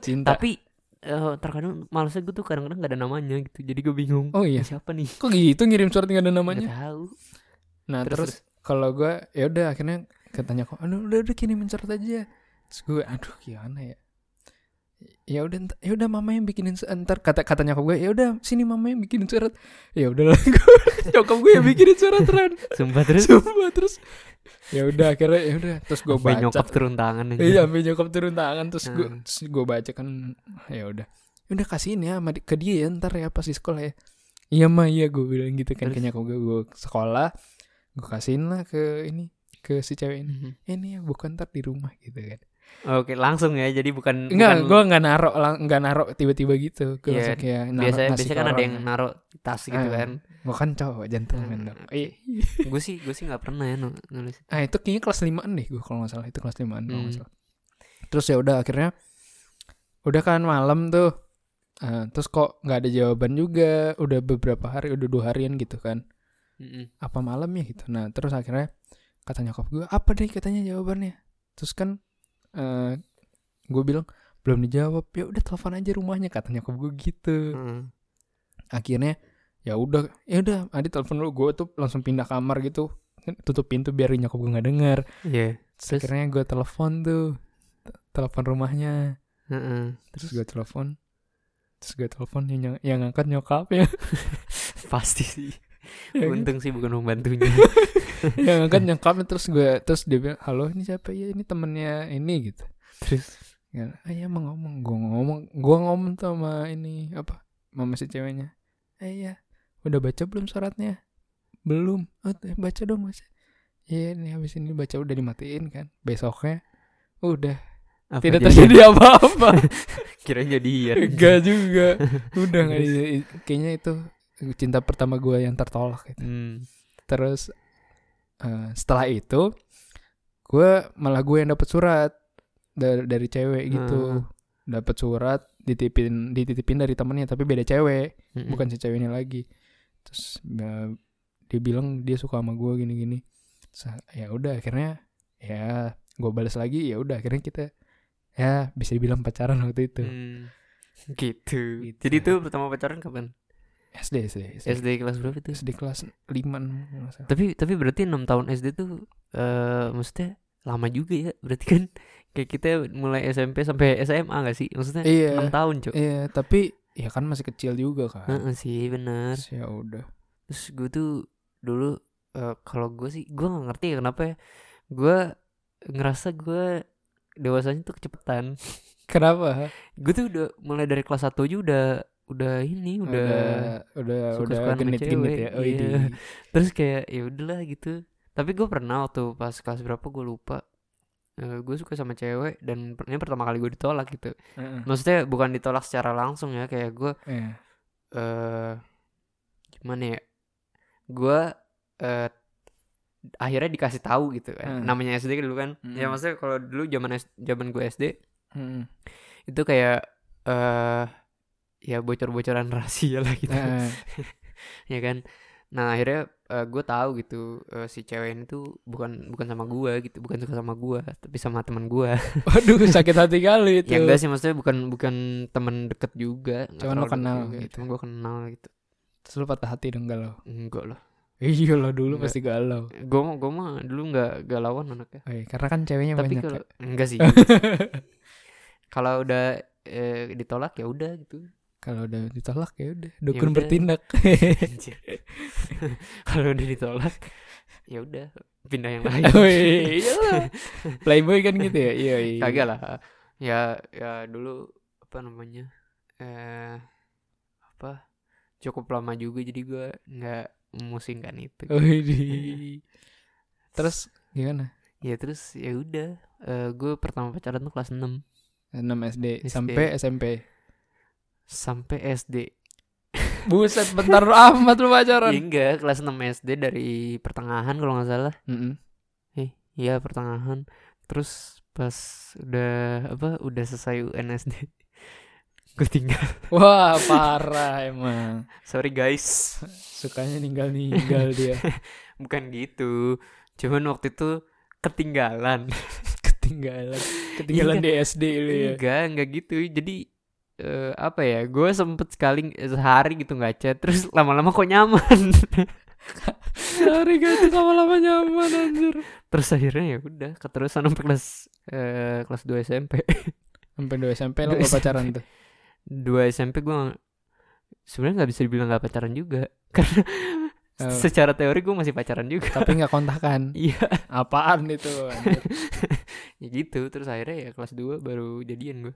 A: Gua-
B: cinta.
A: Tapi eh, terkadang malesnya gue tuh kadang-kadang gak ada namanya gitu. Jadi gue bingung.
B: Oh
A: ini
B: iya.
A: Siapa nih?
B: Kok gitu ngirim surat nggak ada
A: Gak
B: namanya?
A: tahu.
B: Nah,
A: Terus,
B: terus, kalau gue ya udah akhirnya katanya kok aduh udah udah kirimin surat aja terus gue aduh gimana ya ya udah nt- ya udah mama yang bikinin su- ntar kata katanya nyokap gue ya udah sini mama yang bikinin surat ya udahlah <laughs> gue <laughs> nyokap gue
A: <laughs>
B: yang bikinin surat Ran
A: Sumpah terus
B: Sumpah, terus ya udah akhirnya ya udah terus gue
A: sampai
B: baca
A: nyokap turun tangan aja.
B: iya sampai nyokap turun tangan terus gue
A: Gitu. Hmm.
B: terus gue baca kan ya udah Ya udah kasihin ya sama di- ke dia ya ntar ya pas di sekolah ya iya mah iya gue bilang gitu kan ke
A: Terus?
B: nyokap gue gue ke sekolah gue kasihin lah ke ini ke si cewek ini
A: Mhm.
B: ini ya bukan ntar di rumah gitu kan
A: Oke, langsung ya. Jadi bukan
B: enggak
A: bukan-
B: gue nggak narok lang- nggak narok tiba-tiba gitu gue
A: Iya,
B: langsung kayak narok
A: biasanya
B: ngasih
A: biasanya
B: ke
A: kan ada
B: orang.
A: yang naruh tas gitu
B: Ah.
A: kan.
B: Gua kan cowok gentleman
A: Hmm.
B: dong Iya.
A: gue sih gue sih nggak pernah ya nu- nulis.
B: ah itu kayaknya kelas limaan deh gue kalau nggak salah itu kelas limaan kalau nggak
A: Hmm.
B: salah terus ya udah akhirnya udah kan malam tuh Ah, terus kok nggak ada jawaban juga udah beberapa hari udah dua harian gitu kan
A: Mm-mm.
B: apa malam ya gitu nah terus akhirnya kata nyokap gue apa deh katanya jawabannya terus kan eh gue bilang belum dijawab ya udah telepon aja rumahnya kata nyokap gue gitu
A: Heeh.
B: akhirnya ya udah ya udah adi telepon lu gue tuh langsung pindah kamar gitu tutup pintu biar nyokap gue nggak dengar
A: Iya.
B: Terus
A: Terus?
B: akhirnya gue telepon tuh T- Telepon rumahnya
A: Heeh. <laughs>
B: Terus gue telepon Terus gue telepon yang, yang- yang ngangkat ya. nyokapnya
A: Pasti sih.
B: yang,
A: Untung sih bukan membantunya.
B: <laughs> yang ngangkat nyokapnya Terus gue Terus dia bilang Halo ini siapa ya Ini temennya ini gitu
A: Terus
B: ya, ah, iya emang ngomong Gue ngomong Gue ngomong tuh sama ini Apa Mama si ceweknya Eh iya Udah baca belum suratnya Belum oh, tuh, Baca dong mas Iya ini habis ini baca udah dimatiin kan Besoknya Udah
A: apa
B: Tidak
A: jadi?
B: terjadi apa-apa
A: <laughs> Kira jadi ya.
B: Enggak juga. Udah nggak di- kayaknya itu cinta pertama gue yang tertolak gitu.
A: Hmm.
B: Terus eh, setelah itu gue malah gue yang dapat surat da- dari cewek gitu
A: Heeh.
B: dapat surat dititipin dititipin dari temennya tapi beda cewek
A: Mm-mm.
B: bukan si ceweknya lagi terus ya, dia bilang dia suka sama gue gini gini Terus, ya udah akhirnya ya gue balas lagi ya udah akhirnya kita ya bisa dibilang pacaran waktu itu
A: Hmm. Gitu.
B: Gitu. Iya.
A: Jadi itu pertama pacaran kapan?
B: SD SD SD,
A: SD kelas berapa itu?
B: SD kelas 5 enam
A: Tapi tapi berarti 6 tahun SD tuh eh maksudnya lama juga ya. Berarti kan <laughs> kayak kita mulai SMP sampai SMA gak sih? Maksudnya
B: Iya.
A: 6 tahun, Cuk.
B: iya tapi ya kan masih kecil juga kan
A: Heeh sih, bener.
B: Terus ya udah
A: Terus gue tuh dulu eh, kalau gue sih gue nggak ngerti ya kenapa ya. Gue ngerasa gue dewasanya tuh kecepetan.
B: kenapa
A: Gue tuh udah mulai dari kelas 1 aja udah udah ini udah,
B: udah udah
A: suka-sukaan sama
B: genit genit
A: cewek,
B: ya oh, iya.
A: iya. terus kayak ya udahlah gitu tapi gue pernah waktu pas kelas berapa gue lupa gue suka sama cewek dan per- ini pertama kali gue ditolak gitu
B: Heeh.
A: maksudnya bukan ditolak secara langsung ya kayak gue
B: Iya.
A: eh gimana ya gue eh akhirnya dikasih tahu gitu kan
B: Hmm.
A: namanya SD dulu kan ya
B: Hmm.
A: maksudnya kalau dulu zaman S- zaman gue SD <laughs>
B: Heeh.
A: itu kayak eh ya bocor-bocoran <laughs> rahasia lah gitu
B: Heeh.
A: ya kan nah akhirnya gue tahu gitu eh, si cewek ini tuh bukan bukan sama gue gitu bukan suka sama gue tapi sama teman gue
B: waduh sakit hati kali itu
A: ya enggak sih maksudnya bukan bukan teman deket juga nggak
B: Cuman
A: terlalu
B: lo
A: deket
B: kenal
A: juga,
B: gitu.
A: cuman gue kenal gitu
B: Terus lu patah hati dong galau
A: enggak lah
B: Iya lo dulu
A: Enggak.
B: pasti galau
A: gue mah gue mah dulu nggak galauan anaknya
B: Oh iya, Karena kan ceweknya
A: tapi
B: banyak
A: kalau
B: ya.
A: enggak sih kalau udah eh, ditolak ya udah
B: <laughs>
A: gitu
B: <laughs> Kalau udah ditolak ya udah Dukun
A: udah. <laughs>
B: bertindak
A: Anjir. kalau udah ditolak ya udah pindah yang lain
B: Oh iya, iyalah. Playboy kan gitu ya Iya iya
A: kagak lah <laughs> ya ya dulu apa namanya eh apa cukup lama juga jadi gue nggak memusingkan itu
B: Oh, iya. Terus gimana?
A: ya terus ya udah gue pertama pacaran tuh kelas 6
B: 6 SD,
A: SD.
B: sampai SMP
A: sampai SD
B: Buset bentar amat lu
A: ya,
B: pacaran
A: enggak kelas 6 SD dari pertengahan kalau nggak salah
B: Mm-mm.
A: eh iya pertengahan terus pas udah apa udah selesai <laughs> UNSD gue tinggal
B: Wah parah emang
A: sorry guys
B: Sukanya <laughs> ninggal-ninggal dia
A: bukan gitu cuman waktu itu ketinggalan
B: Ketinggalan Ketinggalan
A: Iya.
B: di SD lu ya
A: enggak enggak gitu jadi eh, apa ya gue sempet sekali sehari gitu nggak chat terus lama-lama kok nyaman <laughs>
B: Sorry guys, itu lama-lama nyaman anjir
A: terus akhirnya ya udah keterusan sampai kelas eh, kelas 2 SMP
B: Sampai 2 SMP
A: Dua
B: lo gak
A: SMP.
B: pacaran <laughs> tuh
A: 2 SMP gue sebenarnya nggak bisa dibilang nggak pacaran juga <laughs> karena
B: Oh.
A: secara teori gue masih pacaran juga <laughs>
B: Tapi gak kontakan
A: iya
B: Apaan itu anjir?
A: ya gitu terus akhirnya ya kelas 2 baru jadian gue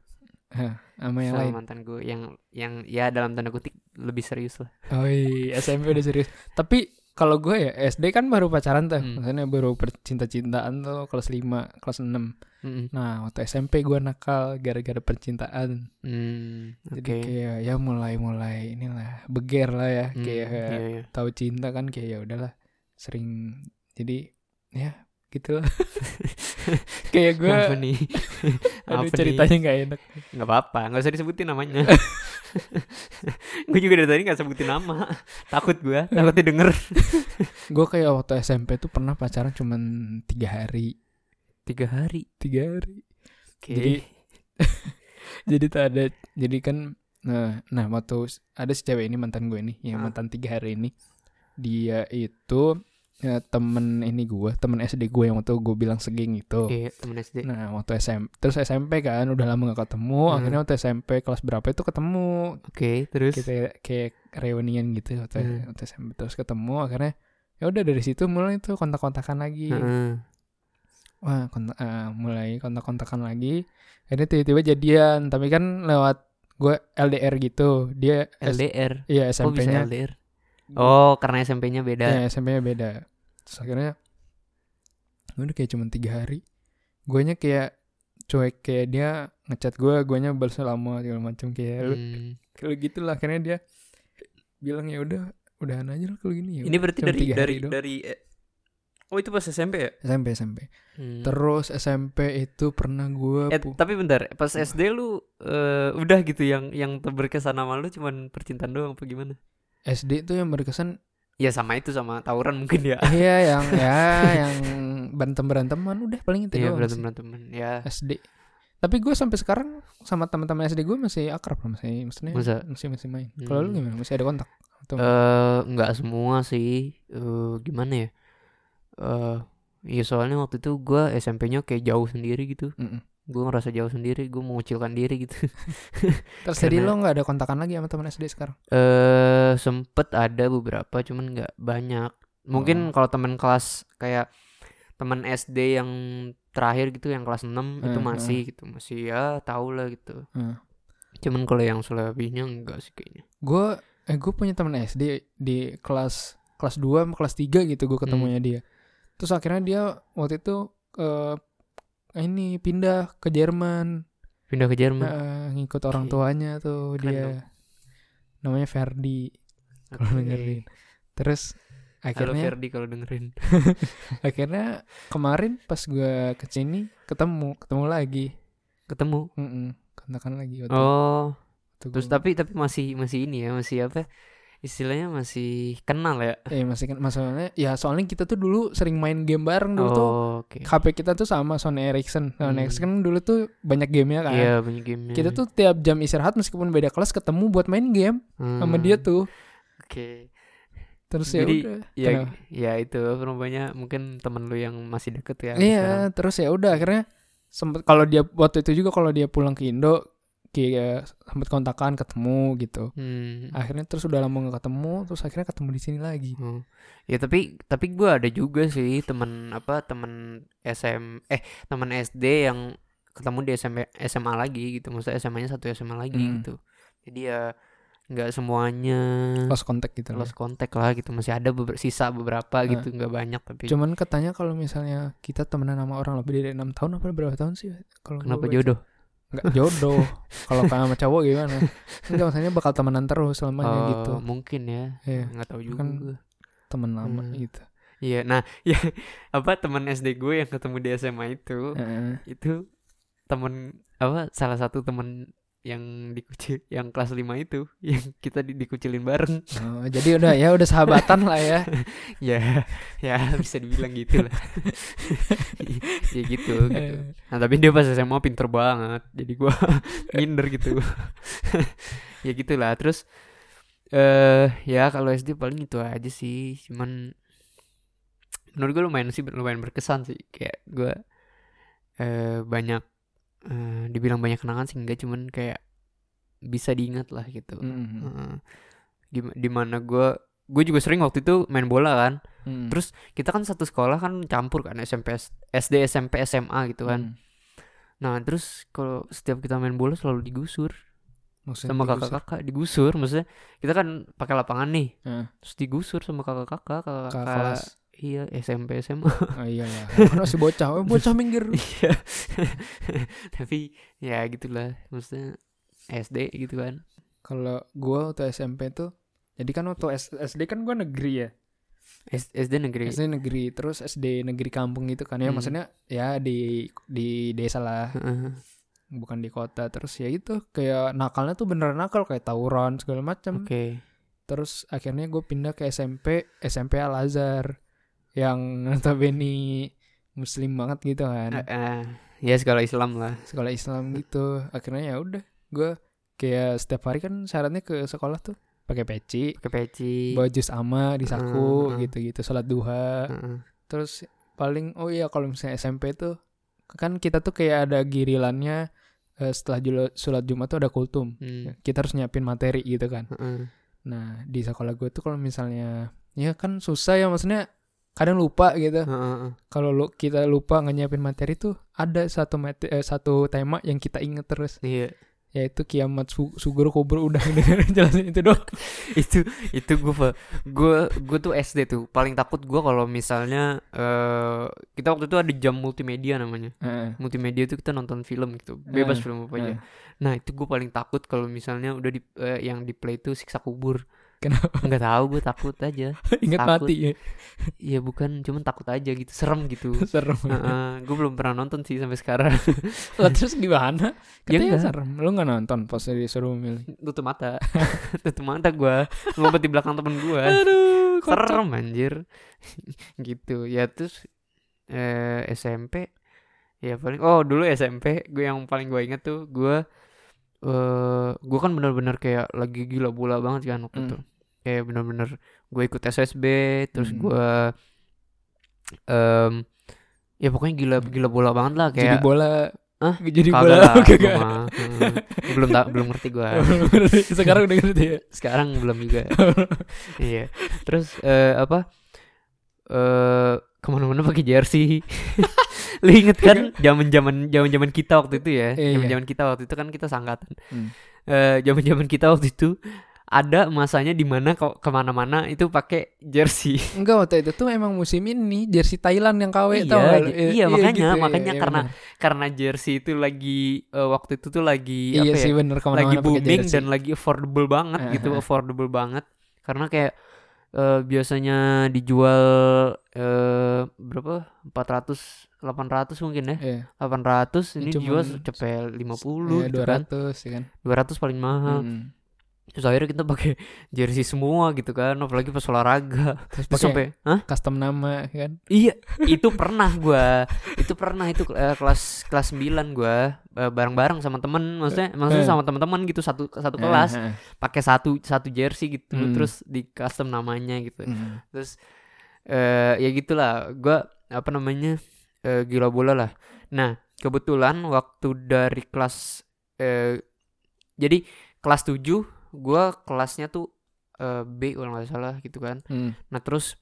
B: Hah, Sama yang
A: sama
B: lain
A: mantan gue yang yang ya dalam tanda kutip lebih serius lah
B: Oi, SMP udah serius. Tapi kalau gue ya SD kan baru pacaran tuh,
A: Hmm.
B: maksudnya baru percinta-cintaan tuh kelas 5, kelas 6.
A: Mm-mm.
B: Nah, waktu SMP gue nakal gara-gara percintaan.
A: Hmm,
B: Jadi
A: oke.
B: kayak ya mulai-mulai inilah beger lah ya,
A: Hmm,
B: kayak
A: iya, iya.
B: tahu cinta kan kayak ya udahlah sering jadi ya gitu lah. <laughs> kayak gue
A: Kenapa nih?
B: <laughs> aduh
A: Apa
B: ceritanya nggak enak.
A: nih? Gak apa-apa, gak usah disebutin
B: <laughs>
A: namanya. <laughs> gue juga dari tadi gak sebutin nama. Takut gue, takut didengar.
B: Gue kayak waktu SMP tuh pernah pacaran cuman tiga hari,
A: Tiga hari.
B: tiga hari.
A: Oke.
B: Jadi- jadi tuh ada jadi kan nah nah waktu s- ada si cewek ini mantan gue nih yang
A: Ah.
B: mantan tiga hari ini dia itu ya, temen ini gue temen SD gue yang waktu gue bilang segeng itu
A: Oke, temen SD.
B: nah waktu SM terus SMP kan udah lama gak ketemu
A: Hmm.
B: akhirnya waktu SMP kelas berapa itu ketemu
A: Oke, terus.
B: kita kayak reunian gitu waktu,
A: Hmm.
B: waktu SMP terus ketemu akhirnya ya udah dari situ mulai tuh kontak-kontakan lagi
A: Heeh.
B: Wah, kontak, eh, mulai kontak-kontakan lagi. Ini tiba-tiba jadian, tapi kan lewat gue LDR gitu. Dia S-
A: LDR.
B: iya
A: Kok bisa
B: SMP-nya.
A: LDR? Oh, karena SMP-nya beda.
B: Iya, SMP-nya beda. Terus akhirnya udah kayak cuma tiga hari. Guanya kayak cuek kayak dia ngechat gue, guanya balas lama segala macam kayak lu,
A: Hmm.
B: <laughs> kalau gitu lah akhirnya dia bilang ya udah udahan aja lah kalau gini ya.
A: Ini berarti
B: cuma
A: dari
B: tiga
A: dari
B: hari doang.
A: dari eh, Oh itu pas SMP ya?
B: SMP SMP
A: Hmm.
B: terus SMP itu pernah gue
A: Eh, tapi bentar, pas SD lu eh, udah gitu yang yang berkesan sama lu cuman percintaan doang apa gimana?
B: SD itu yang berkesan
A: Ya sama itu sama tawuran mungkin ya.
B: iya yang ya yang berantem beranteman udah paling <laughs> itu
A: Iya
B: doang
A: berantem
B: sih.
A: beranteman ya.
B: SD tapi gue sampai sekarang sama teman-teman SD gue masih akrab lah masih maksudnya
A: Masa
B: masih masih main kalau lu
A: Hmm.
B: gimana masih ada kontak atau
A: eh nggak semua sih Eh, gimana ya eh ya soalnya waktu itu gua SMP-nya kayak jauh sendiri gitu
B: Mm-mm.
A: Gua ngerasa jauh sendiri gue mengucilkan diri gitu <laughs>
B: terus jadi
A: karena-
B: lo nggak ada kontakan lagi sama teman SD sekarang
A: eh sempet ada beberapa cuman nggak banyak
B: Oh.
A: mungkin kalau teman kelas kayak teman SD yang terakhir gitu yang kelas 6 itu
B: Hmm,
A: masih gitu masih ya tau lah gitu
B: Hmm.
A: cuman kalau yang selebihnya enggak sih kayaknya
B: gue eh gue punya teman SD di kelas kelas 2 sama kelas 3 gitu gue ketemunya
A: Hmm.
B: dia terus akhirnya dia waktu itu eh ini pindah ke Jerman
A: pindah ke Jerman
B: eh, ngikut
A: Hmm.
B: orang
A: Oke.
B: tuanya tuh
A: Keren
B: dia
A: dong.
B: namanya Ferdi kalau
A: Oke.
B: dengerin terus
A: Halo
B: akhirnya
A: Ferdi kalau dengerin
B: akhirnya kemarin pas gue kesini ketemu ketemu lagi
A: ketemu
B: Mm-mm, kontakan lagi waktu,
A: oh
B: waktu
A: Terus
B: gua-
A: tapi tapi masih masih ini ya, masih apa? Istilahnya masih kenal ya.
B: eh masih kan masalahnya ya soalnya kita tuh dulu sering main game bareng Kan dulu tuh
A: Oh, oke.
B: HP kita tuh sama Sony Ericsson. Sony
A: Hmm.
B: Ericsson kan dulu tuh banyak gamenya kan.
A: Iya, banyak game.
B: Kita tuh tiap jam istirahat meskipun beda kelas ketemu buat main game
A: Hmm.
B: sama dia tuh.
A: Oke.
B: Terus ya
A: Jadi,
B: udah.
A: Ya,
B: Kenapa?
A: ya itu perubahannya mungkin temen lu yang masih deket ya.
B: Iya,
A: sekarang.
B: terus ya udah akhirnya sempet kalau dia waktu itu juga kalau dia pulang ke Indo kayak sempet kontakan ketemu gitu.
A: Hmm.
B: Akhirnya terus udah lama gak ketemu, terus akhirnya ketemu di sini lagi.
A: Hmm. Ya tapi tapi gua ada juga sih temen apa temen SM eh temen SD yang ketemu di SMP SMA lagi gitu. Maksudnya SMA-nya satu SMA lagi
B: Hmm.
A: gitu. Jadi ya nggak semuanya
B: Lost contact Eh, gitu. loh.
A: lost contact lah gitu masih ada beber- sisa beberapa gitu nggak banyak tapi
B: Cuman katanya kalau misalnya kita temenan sama orang lebih dari enam tahun apa berapa tahun sih? Kalau gua
A: kenapa
B: baca.
A: jodoh
B: nggak jodoh
A: <laughs>
B: kalau kayak sama cowok gimana enggak maksudnya bakal temenan terus selamanya
A: Oh,
B: gitu
A: mungkin ya
B: Iya,
A: nggak tahu juga
B: kan-
A: gua.
B: temen lama
A: Hmm.
B: gitu
A: iya nah <laughs> ya apa teman SD gue yang ketemu di SMA itu
B: Heeh.
A: itu temen apa salah satu temen yang dikucil yang kelas 5 itu <laughs> yang kita di- dikucilin bareng
B: Oh, jadi udah ya udah sahabatan lah ya
A: ya ya bisa dibilang gitu lah <laughs> ya <laughs> gitu gitu
B: Eh,
A: nah tapi dia pas SMA pinter banget jadi gua <laughs> minder gitu ya gitulah terus eh ya kalau SD paling itu aja sih cuman menurut gue lumayan sih lumayan berkesan sih kayak gua eh banyak eh, dibilang banyak kenangan sih enggak cuman kayak bisa diingat lah gitu
B: mm,
A: Heeh. Gim- dimana gua gue juga sering waktu itu main bola kan
B: mm.
A: terus kita kan satu sekolah kan campur kan SMP SD SMP SMA gitu kan
B: Mm.
A: Nah terus kalau setiap kita main bola selalu digusur
B: Hmm. maksudnya gitu
A: sama
B: digusur.
A: kakak-kakak digusur maksudnya kita kan pakai lapangan nih
B: Heeh.
A: terus digusur sama kakak-kakak
B: Kakak
A: kakak-kakak
B: kelas
A: iya SMP
B: <laughs>
A: SMA
B: oh, iya lah Kan masih bocah oh, bocah minggir
A: iya <laughs> tapi ya gitulah maksudnya SD gitu kan
B: kalau gua waktu SMP tuh jadi kan waktu S- SD kan gua negeri ya
A: S- SD negeri
B: SD negeri terus SD negeri kampung gitu kan ya
A: Hmm.
B: maksudnya ya di di desa lah
A: Heeh.
B: Hmm. bukan di kota terus ya itu kayak nakalnya tuh beneran nakal kayak tawuran segala macam
A: oke
B: terus akhirnya gue pindah ke SMP SMP Al Azhar yang notabene muslim banget gitu
A: Eh,
B: kan
A: eh, ya sekolah Islam lah
B: sekolah Islam gitu akhirnya ya udah gue kayak setiap hari kan syaratnya ke sekolah tuh pakai peci
A: pakai peci
B: bawa jus ama di saku
A: Hmm.
B: gitu-gitu sholat duha
A: Heeh.
B: terus paling oh iya kalau misalnya SMP tuh kan kita tuh kayak ada girilannya eh, setelah jul- sholat Jumat tuh ada kultum
A: Hmm.
B: Ya, kita harus nyiapin materi gitu kan
A: Heeh.
B: nah di sekolah gue tuh kalau misalnya ya kan susah ya maksudnya kadang lupa gitu
A: Heeh, heeh.
B: kalau lu, kita lupa nggak nyiapin materi tuh ada satu mate- eh, satu tema yang kita inget terus
A: iya
B: yaitu kiamat su sugur kubur
A: <laughs>
B: udah <laughs> jelasin itu doang
A: itu itu gue gue gue tuh SD tuh paling takut gue kalau misalnya eh kita waktu itu ada jam multimedia namanya
B: Heeh.
A: multimedia tuh kita nonton film gitu bebas
B: Eh,
A: film apa aja nah itu gue paling takut kalau misalnya udah di eh, yang di play tuh siksa kubur
B: Kenapa?
A: nggak tahu gue takut aja
B: <laughs> Ingat
A: Takut.
B: mati ya.
A: ya bukan cuman takut aja gitu serem gitu
B: <laughs> serem.
A: gue belum pernah nonton sih sampai sekarang <laughs>
B: Lah terus gimana?
A: enggak.
B: Katanya serem. Lu nggak nonton pas disuruh milih.
A: tutup mata <laughs> tutup mata gue ngumpet di belakang temen gue
B: Aduh, kocak.
A: serem anjir <laughs> gitu ya terus eh, SMP ya paling oh dulu SMP gue yang paling gue inget tuh gue eh gue kan bener-bener kayak lagi gila bola banget kan waktu
B: Hmm.
A: itu kayak bener-bener gue ikut SSB terus
B: Hmm.
A: gue em, ya pokoknya gila gila bola banget lah
B: Jadi
A: kayak
B: bola.
A: Hah?
B: <laughs> Jadi
A: kagak
B: bola.
A: lah,
B: kagak.
A: gua mah. Heeh. belum tak
B: <laughs>
A: belum ngerti gue
B: Sekarang udah ngerti
A: <laughs>
B: ya.
A: sekarang belum juga iya terus eh, apa eh kemana-mana pakai jersey <laughs> lu inget kan zaman zaman zaman zaman kita waktu itu ya
B: Iya.
A: zaman zaman kita waktu itu kan kita sangkatan
B: Hmm.
A: Eh, zaman zaman kita waktu itu ada masanya di mana kok kemana-mana itu pakai jersey <laughs>
B: Enggak waktu itu tuh emang musim ini jersey Thailand yang KW
A: Iya,
B: tau nggak lu?
A: j- iya, makanya-
B: iya,
A: makanya
B: iya,
A: karena
B: bener.
A: karena jersey itu lagi eh, waktu itu tuh lagi
B: iya
A: apa ya
B: sih bener kemana-mana
A: lagi
B: pakai
A: booming
B: jersey.
A: dan lagi affordable banget gitu
B: Aha.
A: affordable banget karena kayak eh, biasanya dijual eh, berapa 400 800 mungkin ya
B: Iya.
A: 800 ini
B: Ini cuman
A: dijual cepet 50
B: Iya,
A: gitu
B: 200
A: kan
B: ya kan.
A: 200 paling mahal
B: Mm.
A: terus akhirnya kita pakai <laughs> jersey semua gitu kan apalagi pas olahraga
B: Terus
A: terus
B: pakai
A: sampai Hah?
B: custom nama kan.
A: Iya, itu pernah gua. Itu pernah itu eh, kelas kelas 9 gua eh, bareng-bareng sama temen maksudnya maksudnya
B: Eh.
A: sama teman-teman gitu satu satu kelas
B: Ah, ah.
A: pakai satu satu jersey gitu
B: Hmm.
A: terus di custom namanya gitu.
B: Mm.
A: Terus eh ya gitulah gua apa namanya? eh, gila bola lah. Nah, kebetulan waktu dari kelas eh jadi kelas 7 gua kelasnya tuh eh, B kalau nggak salah gitu kan.
B: Mm.
A: Nah terus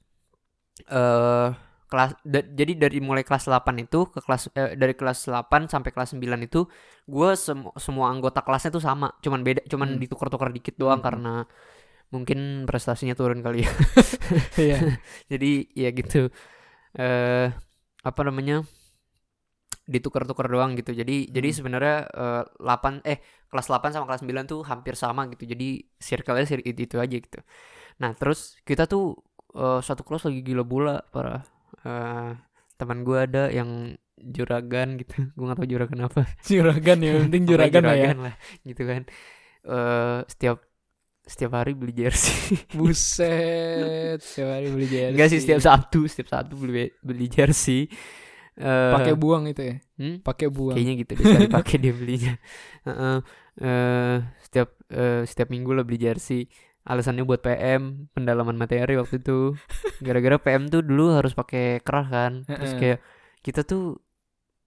A: eh kelas da- jadi dari mulai kelas 8 itu ke kelas eh, dari kelas 8 sampai kelas 9 itu gua sem- semua anggota kelasnya tuh sama, cuman beda cuman
B: Hmm.
A: ditukar-tukar dikit doang
B: Hmm.
A: karena mungkin prestasinya turun kali ya.
B: <laughs> Iya.
A: jadi ya gitu. Eh apa namanya? ditukar-tukar doang gitu. Jadi jadi
B: Hmm.
A: sebenarnya eh, 8 eh kelas 8 sama kelas 9 tuh hampir sama gitu. Jadi circle-nya sir- itu, itu aja gitu. Nah, terus kita tuh eh, satu kelas lagi gila bola parah. Eh, teman gua ada yang juragan gitu. <laughs> gua gak tau juragan apa.
B: Juragan ya, yang penting
A: Pokoknya
B: juragan lah ya.
A: juragan lah gitu kan. Eh setiap setiap hari beli jersey. <laughs>
B: Buset, setiap hari beli jersey.
A: Enggak sih setiap Sabtu, setiap Sabtu beli beli jersey. Eh,
B: pakai buang itu ya.
A: hmm?
B: Pakai buang.
A: kayaknya gitu deh sekali pakai dia belinya <laughs> Heeh. Eh, setiap eh, setiap minggu lo beli jersey alasannya buat PM pendalaman materi waktu
B: <laughs>
A: itu gara-gara PM tuh dulu harus pakai kerah kan terus
B: Heeh.
A: kayak kita tuh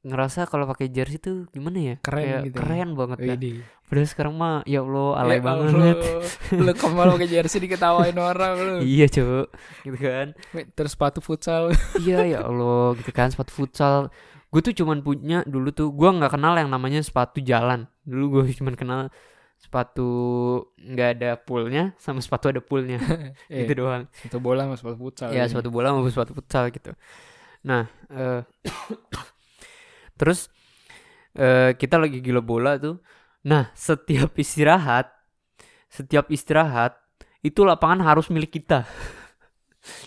A: ngerasa kalau pakai jersey tuh gimana ya
B: Keren
A: Kayak
B: gitu ya.
A: keren banget ya
B: Widih.
A: padahal sekarang mah ya Allah alay
B: Ya
A: banget
B: Allah, Lu kemana pakai jersey diketawain orang lu.
A: <laughs> iya cowok gitu kan
B: Terus sepatu futsal.
A: iya ya Allah gitu kan sepatu futsal gue tuh cuman punya dulu tuh gue nggak kenal yang namanya sepatu jalan dulu gue cuman kenal sepatu nggak ada poolnya sama sepatu ada poolnya
B: Eh,
A: gitu doang
B: Sepatu bola sama sepatu futsal. gitu
A: ya
B: ini.
A: sepatu bola maupun sepatu futsal gitu nah eh, <coughs> terus eh, kita lagi gila bola tuh nah setiap istirahat setiap istirahat itu lapangan harus milik kita <laughs>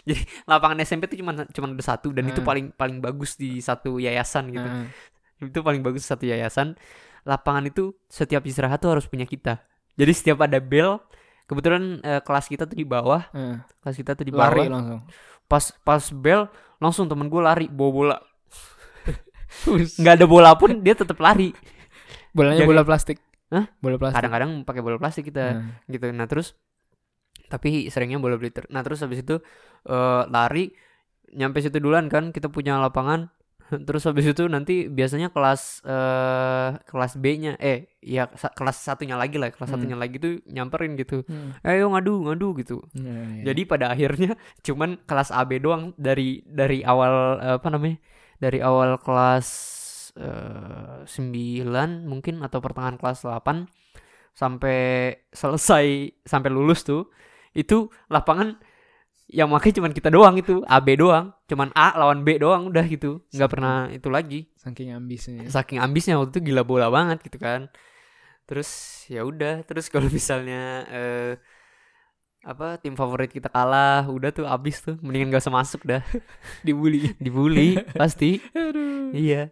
A: jadi lapangan SMP tuh cuma cuma ada satu dan itu
B: Ah.
A: paling paling bagus di satu yayasan gitu
B: Ah,
A: itu paling bagus satu yayasan lapangan itu setiap istirahat tuh harus punya kita jadi setiap ada bel kebetulan eh, kelas kita tuh di bawah
B: ah.
A: kelas kita tuh di bawah
B: Lari langsung.
A: pas pas bel langsung temen gue lari bawa bola nggak ada bola pun dia tetap lari
B: Bolanya
A: Jadi-
B: bola plastik.
A: Hah?
B: Bola plastik.
A: kadang-kadang pakai bola plastik kita
B: Nah,
A: gitu nah terus tapi seringnya bola glitter nah terus habis itu eh, lari nyampe situ duluan kan kita punya lapangan <laughs> terus habis itu nanti biasanya kelas eh kelas B-nya eh ya sa- kelas satunya lagi lah kelas
B: Hmm.
A: satunya lagi tuh nyamperin gitu
B: hmm.
A: ayo ngadu ngadu gitu
B: Iya, iya.
A: Jadi pada akhirnya <laughs> cuman kelas AB doang dari dari awal eh, apa namanya? Dari awal kelas eh, 9 mungkin atau pertengahan kelas 8 sampai selesai sampai lulus tuh itu lapangan yang makai cuman kita doang itu AB doang cuman A lawan B doang udah gitu nggak pernah itu lagi
B: saking ambisnya.
A: Iya. saking ambisnya waktu itu gila bola banget <laughs> gitu kan terus ya udah terus kalau misalnya eh, apa tim favorit kita kalah udah tuh abis tuh mendingan gak usah masuk dah
B: <laughs> dibully
A: <laughs> dibully
B: <laughs>
A: pasti
B: aduh
A: iya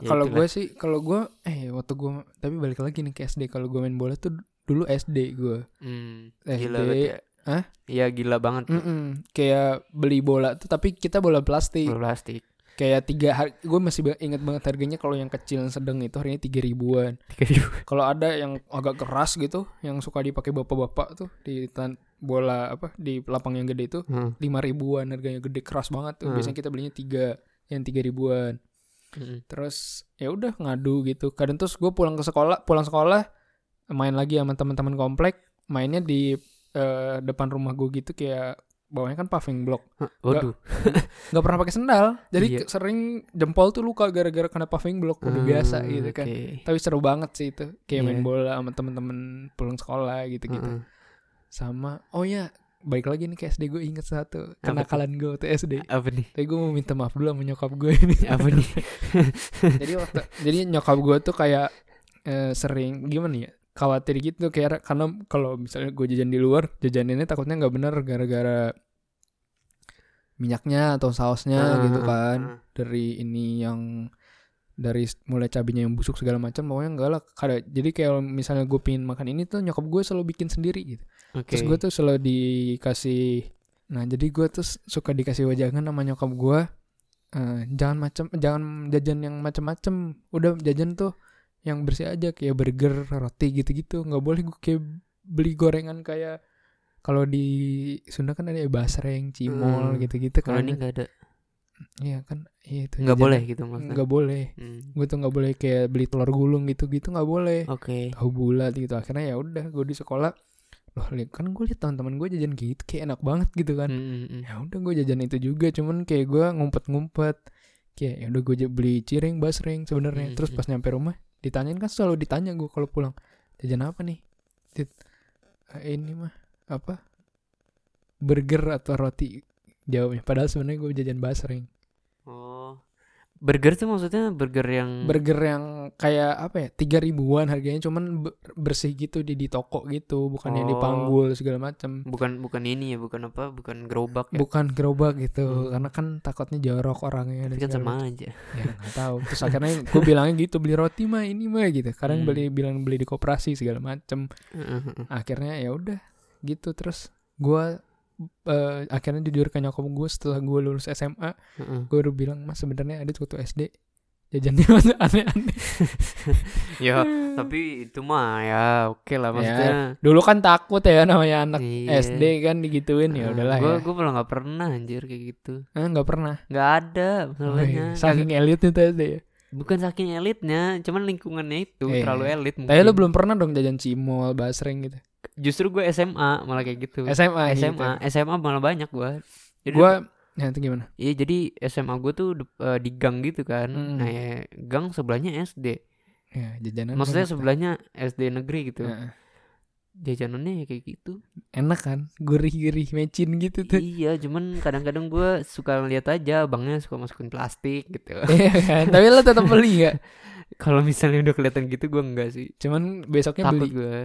A: Ya
B: <laughs> kalau
A: itulah.
B: gue sih kalau gue eh waktu gue tapi balik lagi nih ke SD kalau gue main bola tuh dulu SD gue
A: Hmm,
B: SD
A: gila banget ya.
B: Hah? Hmm,
A: Iya gila banget.
B: Mm-mm. kayak beli bola tuh tapi kita bola plastik
A: Bola plastik.
B: kayak tiga hari gue masih ba- inget banget harganya kalau yang kecil yang sedang itu harganya tiga ribuan
A: Tiga
B: <laughs>
A: ribu.
B: kalau ada yang agak keras gitu yang suka dipakai bapak-bapak tuh di tan- bola apa di lapang yang gede itu
A: Hmm,
B: lima ribuan harganya gede keras banget tuh
A: Hmm.
B: biasanya kita belinya tiga yang tiga ribuan
A: hmm.
B: terus ya udah ngadu gitu kadang terus gue pulang ke sekolah pulang sekolah main lagi sama teman-teman komplek mainnya di eh, depan rumah gue gitu kayak bawahnya kan paving block
A: Hah, Waduh.
B: nggak pernah pakai sendal jadi
A: Iya.
B: ke- sering jempol tuh luka gara-gara kena paving block udah biasa
A: Hmm,
B: gitu kan
A: oke.
B: tapi seru banget sih itu kayak main
A: Iya. Hmm.
B: bola sama temen-temen pulang sekolah gitu gitu
A: Heeh.
B: sama oh ya balik lagi nih ke SD gue inget satu
A: Apa tuh?
B: kenakalan gue waktu SD
A: Apa
B: <laughs>
A: nih?
B: tapi gue mau minta maaf dulu sama nyokap gue ini
A: Apa nih?
B: jadi waktu jadi nyokap gue tuh kayak eh, sering gimana ya khawatir gitu kayak karena kalau misalnya gue jajan di luar jajaninnya takutnya nggak bener gara-gara minyaknya atau sausnya
A: Ah,
B: gitu
A: ah,
B: kan
A: ah.
B: dari ini yang dari s- mulai cabenya yang busuk segala macam pokoknya enggak lah Kada- jadi kayak misalnya gue pingin makan ini tuh nyokap gue selalu bikin sendiri gitu
A: Oke.
B: terus gue tuh selalu dikasih nah jadi gue tuh s- suka dikasih wajangan sama nyokap gue eh, jangan macam jangan jajan yang macam-macam udah jajan tuh yang bersih aja kayak burger roti gitu-gitu nggak boleh gue kayak beli gorengan kayak kalau di Sunda kan ada basreng,
A: Hmm.
B: cimol gitu-gitu
A: Kalau
B: kan.
A: ini nggak ada,
B: Iya kan, iya itu.
A: nggak
B: jajan-
A: boleh gitu maksudnya.
B: nggak boleh
A: Hmm,
B: gue tuh nggak boleh kayak beli telur gulung gitu gitu nggak boleh
A: Oke.
B: tahu bulat gitu akhirnya ya udah gue di sekolah loh lihat kan gue liat teman-teman gue jajan gitu kayak enak banget gitu kan
A: Hmm, hmm, hmm.
B: ya udah gue jajan itu juga cuman kayak gue ngumpet-ngumpet kayak ya udah gue j- beli cireng basreng sebenarnya
A: Mm,
B: terus
A: mm.
B: pas nyampe rumah ditanyain kan selalu ditanya gue kalau pulang jajan apa nih Dit, "Eh, ini mah apa burger atau roti jawabnya padahal sebenarnya gue jajan basreng
A: Oh. Burger tuh maksudnya burger yang
B: burger yang kayak apa ya tiga ribuan harganya cuman be- bersih gitu di di toko gitu bukan yang
A: Oh.
B: dipanggul segala macam
A: bukan bukan ini ya, bukan apa, bukan gerobak ya.
B: bukan gerobak gitu
A: Hmm.
B: karena kan takutnya jorok orangnya
A: Tapi
B: dan
A: kan
B: segala
A: sama aja.
B: macam. ya nggak tahu terus akhirnya gue bilangnya gitu beli roti mah ini mah gitu kadang
A: Hmm.
B: beli bilang beli di koperasi segala macam
A: Heeh, heeh.
B: akhirnya ya udah gitu terus gue eh, akhirnya jujur ke nyokap gue setelah gue lulus SMA
A: Heeh.
B: gue udah bilang mas sebenarnya ada waktu SD jajannya <laughs> aneh-aneh
A: Ya, tapi itu mah ya oke lah
B: Ya,
A: maksudnya.
B: dulu kan takut ya namanya anak
A: Iya. Ah,
B: SD kan digituin ya udahlah
A: gue
B: ya.
A: gue malah nggak pernah anjir kayak gitu
B: Ah, nggak pernah.
A: nggak ada masalahnya
B: Wih, Oh, iya. saking elitnya tuh SD ya.
A: bukan saking elitnya cuman lingkungannya itu
B: Iya.
A: terlalu elit mungkin
B: Tapi lu belum pernah dong jajan cimol, basreng gitu.
A: justru gue SMA malah kayak gitu
B: SMA
A: SMA SMA malah banyak gue jadi
B: Gitu. iya, ya. Gua ya itu gimana?
A: iya jadi SMA gue tuh dep- eh, di gang gitu kan
B: Mm.
A: nah ya, gang sebelahnya SD
B: Ya, jajanan.
A: maksudnya
B: banyak.
A: sebelahnya SD negeri gitu
B: Heeh.
A: jajanannya ya kayak gitu
B: ah. enak kan? Gurih-gurih mecin <laughs> gitu tuh.
A: iya cuman kadang-kadang gue suka ngeliat aja abangnya suka masukin plastik
B: <laughs>
A: gitu
B: <laughs> Iya kan? Tapi lu tetap beli gak?
A: kalau misalnya udah kelihatan gitu gue enggak sih
B: Cuman besoknya
A: takut
B: beli.
A: gue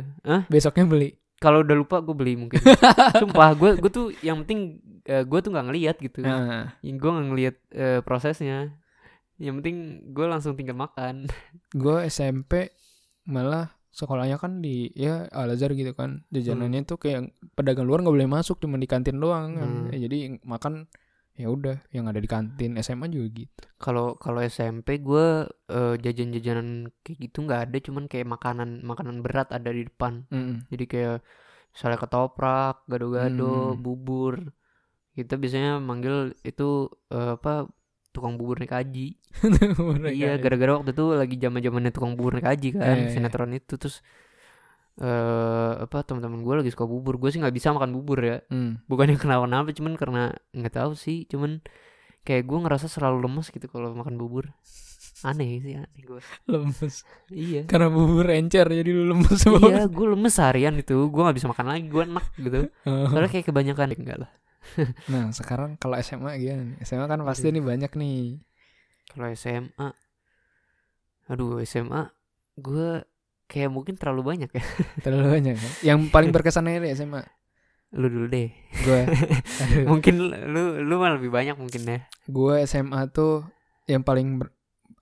B: Besoknya beli.
A: kalau udah lupa gue beli
B: <laughs>
A: mungkin sumpah gue gue tuh yang penting gue tuh nggak ngeliat gitu
B: Nah,
A: gue nggak ngeliat eh, prosesnya yang penting gue langsung tinggal makan
B: gua SMP malah sekolahnya kan di ya Al Azhar gitu kan. Jajanannya tuh kayak pedagang luar nggak boleh masuk, cuma di kantin doang kan.
A: Hmm.
B: Ya, jadi makan ya udah yang ada di kantin SMA juga gitu.
A: kalau kalau SMP gue eh, jajan-jajanan kayak gitu nggak ada cuman kayak makanan makanan berat ada di depan
B: <laughs> Mm-mm.
A: jadi kayak misalnya ketoprak gado-gado
B: Hmm.
A: bubur kita biasanya manggil itu eh, apa tukang bubur naik haji
B: Mereka
A: Iya,
B: ya.
A: gara-gara waktu itu lagi zaman-zamannya tukang bubur naik haji kan,
B: Eh.
A: sinetron itu terus eh apa teman-teman gue lagi suka bubur, gue sih nggak bisa makan bubur ya.
B: Hmm.
A: Bukannya <laughs> kenapa-napa, cuman karena nggak tahu sih, cuman kayak gue ngerasa selalu lemes gitu kalau makan bubur. Aneh sih, aneh gue.
B: lemes
A: Iya.
B: karena bubur encer jadi lu lemes
A: <laughs>
B: banget.
A: iya, gue lemes seharian itu, gue nggak bisa makan lagi, gue enak
B: <laughs>
A: gitu. Soalnya kayak kebanyakan
B: Ya,
A: enggak lah.
B: nah sekarang kalau SMA gimana nih? SMA kan pasti nih banyak nih
A: Kalau SMA, aduh SMA, gue kayak mungkin terlalu banyak ya <laughs>
B: terlalu banyak kan? yang paling berkesan aja deh SMA
A: lu dulu deh <laughs>
B: gue Iya.
A: mungkin lu lu malah lebih banyak mungkin ya
B: gue SMA tuh yang paling ber-